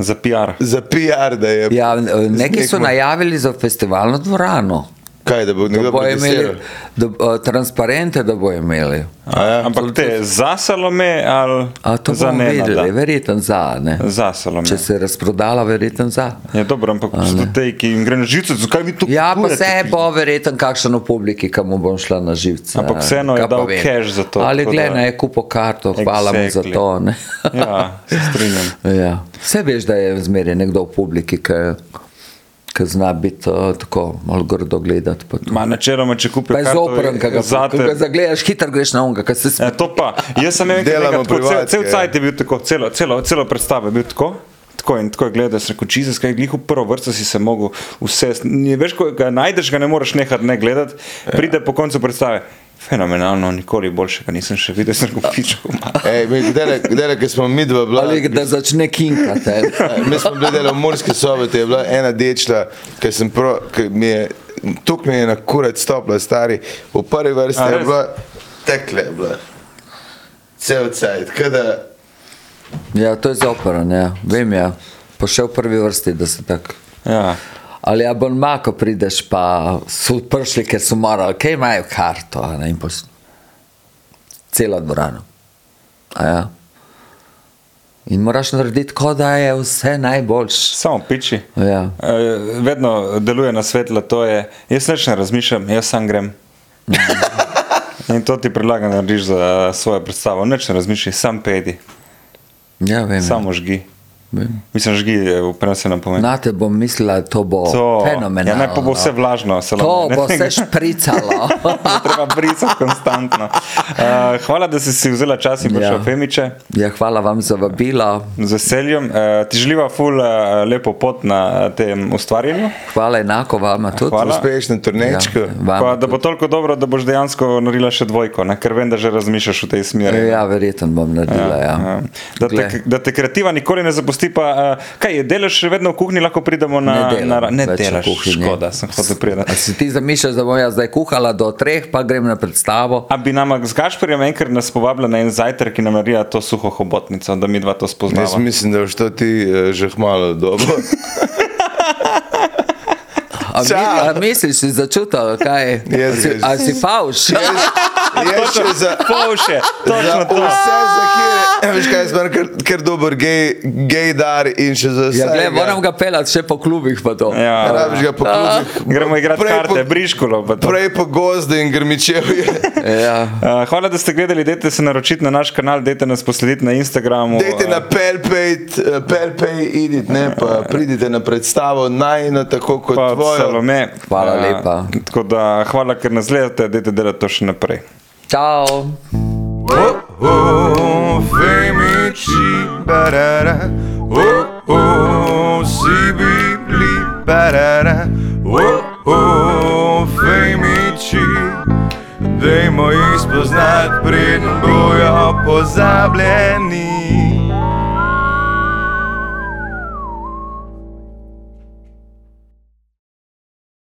S2: Za PR.
S1: za PR. Da je
S4: Ja, neki so
S1: Nekmo-
S4: najavili za festivalno dvorano.
S1: Kaj, da bo
S4: Da
S1: nekdo
S4: bojo
S1: protestiral?
S4: imeli da, a, transparente, da bojo imeli.
S1: Ja.
S2: Eh, Ampak te za Salome ali
S4: A to
S2: za
S4: bomo
S2: Nenada?
S4: videli, verjetno za. Ne?
S2: Za Salome.
S4: Če se je razprodala, verjetno za.
S2: Ja, dobro, ampak so te, ki jim gre na živce, zakaj mi to
S4: Ja, pa
S2: kupujete?
S4: se bo verjetno kakšen v publiki, kam mu bom šla na živce.
S2: Ampak
S4: ne,
S2: vseeno je
S4: kaj pa
S2: dal
S4: vem.
S2: cash za to,
S4: Ali
S2: tako da-
S4: gledaj, da... je kupo karto, hvala exactly. mu za
S2: Exactly.
S4: to. ne.
S2: Ja, se strinjam.
S4: ja. Vse veš, da je zmeraj nekdo v publiki, ki, ki zna biti uh, tako malo grdo gledati. Pa, to.
S2: Ma, načeloma, če kupijo
S4: pa je
S2: karto,
S4: zopren, ki ga,
S2: za
S4: ko ga
S2: te
S4: zagledaš, hitro greš na unga, ki se
S2: Ja,
S4: smeji.
S2: to pa. Jaz sem enkrat
S1: Delamo
S2: delal tako, cel,
S1: privatke,
S2: cel
S1: ja.
S2: cajt je bil tako, celo, celo, celo predstavo je bil tako. Tako in tako je gledal, sem rekel, čizes, kaj glih v prvo vrsto si se mogel vse, ne veš, ko ga najdeš, ga ne moreš nehati ne gledati,
S1: Ja.
S2: pride po koncu predstave. Fenomenalno, nikoli boljšega nisem še videl, sem rekel, pičko.
S1: Ej, mi, kdele, kdele, ki smo mi dva bila,
S4: Ali da začne kinkati. eh.
S1: Mi smo bili delali v Murski soboti, je bila ena dečla, ki sem pro, ki mi je, tukaj mi je na kurac stopla, stari, v prvi vrsti
S2: A,
S1: je
S2: res?
S1: bila, tekle je bila. cel cajt. Tako da
S4: Ja, to je za operan, ja. vem ja. Pa še v prvi vrsti, da se tako.
S2: Ja.
S4: Ali abonma, ko prideš, pa so prišli, ker so morali, kaj imajo karto, a ne, in pos... cela dvorana. A Ja. In moraš narediti, kot da je vse najboljše.
S2: Samo piči.
S4: Ja.
S2: Eh, vedno deluje na svetlo, to je, jaz neč ne razmišljam, jaz sam grem. In to ti predlagam, da narediš za eh, svojo predstavo. Neč ne razmišljaj, sam pedi,
S4: ja, vem. ja.
S2: samo žgi.
S4: Vem.
S2: Mislim, žgi je v prenesenem pomenu.
S4: Na te bom mislila, to bo
S2: To, ja,
S4: fenomenalno.
S2: naj pa bo vse vlažno, se
S4: To bo se špricalo.
S2: Treba brisati konstantno. Uh, hvala, da si si vzela čas in prišla
S4: Ja.
S2: ja. Femiče.
S4: ja, hvala vam za vabilo.
S2: Z veseljem. Uh, ti želiva ful uh, lepo pot na eh, tem ustvarjanju.
S4: Hvala enako vama tudi.
S2: Hvala.
S1: uspešno turnečko. Ja.
S4: vam.
S2: Pa, da bo toliko dobro, da boš dejansko naredila še dvojko, ne? ker vem, da že razmišljaš v tej smeri.
S4: Ja, verjetno bom naredila. Ja, ja.
S2: Ja. Da, te, da te kreativa nikoli ne zapusti, pa uh, kaj je, delaš še vedno v kuhinji, lahko pridemo na
S4: ne,
S2: na ra-
S4: delam
S2: ne
S4: več v
S2: delaš,
S4: kuhinji.
S2: škoda, sem hotel
S4: A
S2: prijeti.
S4: si ti zamišljaš, da bom jaz zdaj kuhala do treh, pa grem na predstavo?
S2: A bi nam z Gašporjem enkrat nas povabila na en zajtrk in nam naredila to suho hobotnico, da mi dva to
S1: Jaz
S2: spoznava.
S1: mislim, da boš to ti eh, že hmalo dobro.
S4: A, mi,
S1: Čao.
S4: a misliš, si začutil, kaj
S1: Jaz
S4: si,
S1: res.
S4: a si fauš?
S1: Jaz še za,
S2: Povše,
S1: za
S2: točno to.
S1: vse, za kire, veš kaj, jaz sem kar, kar dober gej, gej dar in še za vse.
S4: Ja, gled, moram ga pelati še po klubih. pa to.
S2: Ja,
S1: Rabiš ga po klubih.
S2: gremo igrati
S1: Prej
S2: karte,
S1: po-
S2: briškulo. pa to.
S1: Prej po gozdu in grmičevje.
S2: Uh,
S4: Ja.
S2: hvala, da ste gledali, dajte se naročiti na naš kanal, dajte nas poslediti na Instagramu.
S1: Dajte na Pelpej, eh, Pelpej, idit, ne pa pridite na predstavo najno tako kot
S2: pa
S1: tvojo.
S2: Salome.
S4: Hvala
S2: Eh,
S4: lepa.
S2: Tako da hvala, ker nas gledate, dajte delati to še naprej.
S4: Čau.
S3: Oh, Femici, barara. Oh, oh, Sibi, bli, barara. Oh, oh, Femici. Dajmo jih spoznati, preden bojo pozabljeni.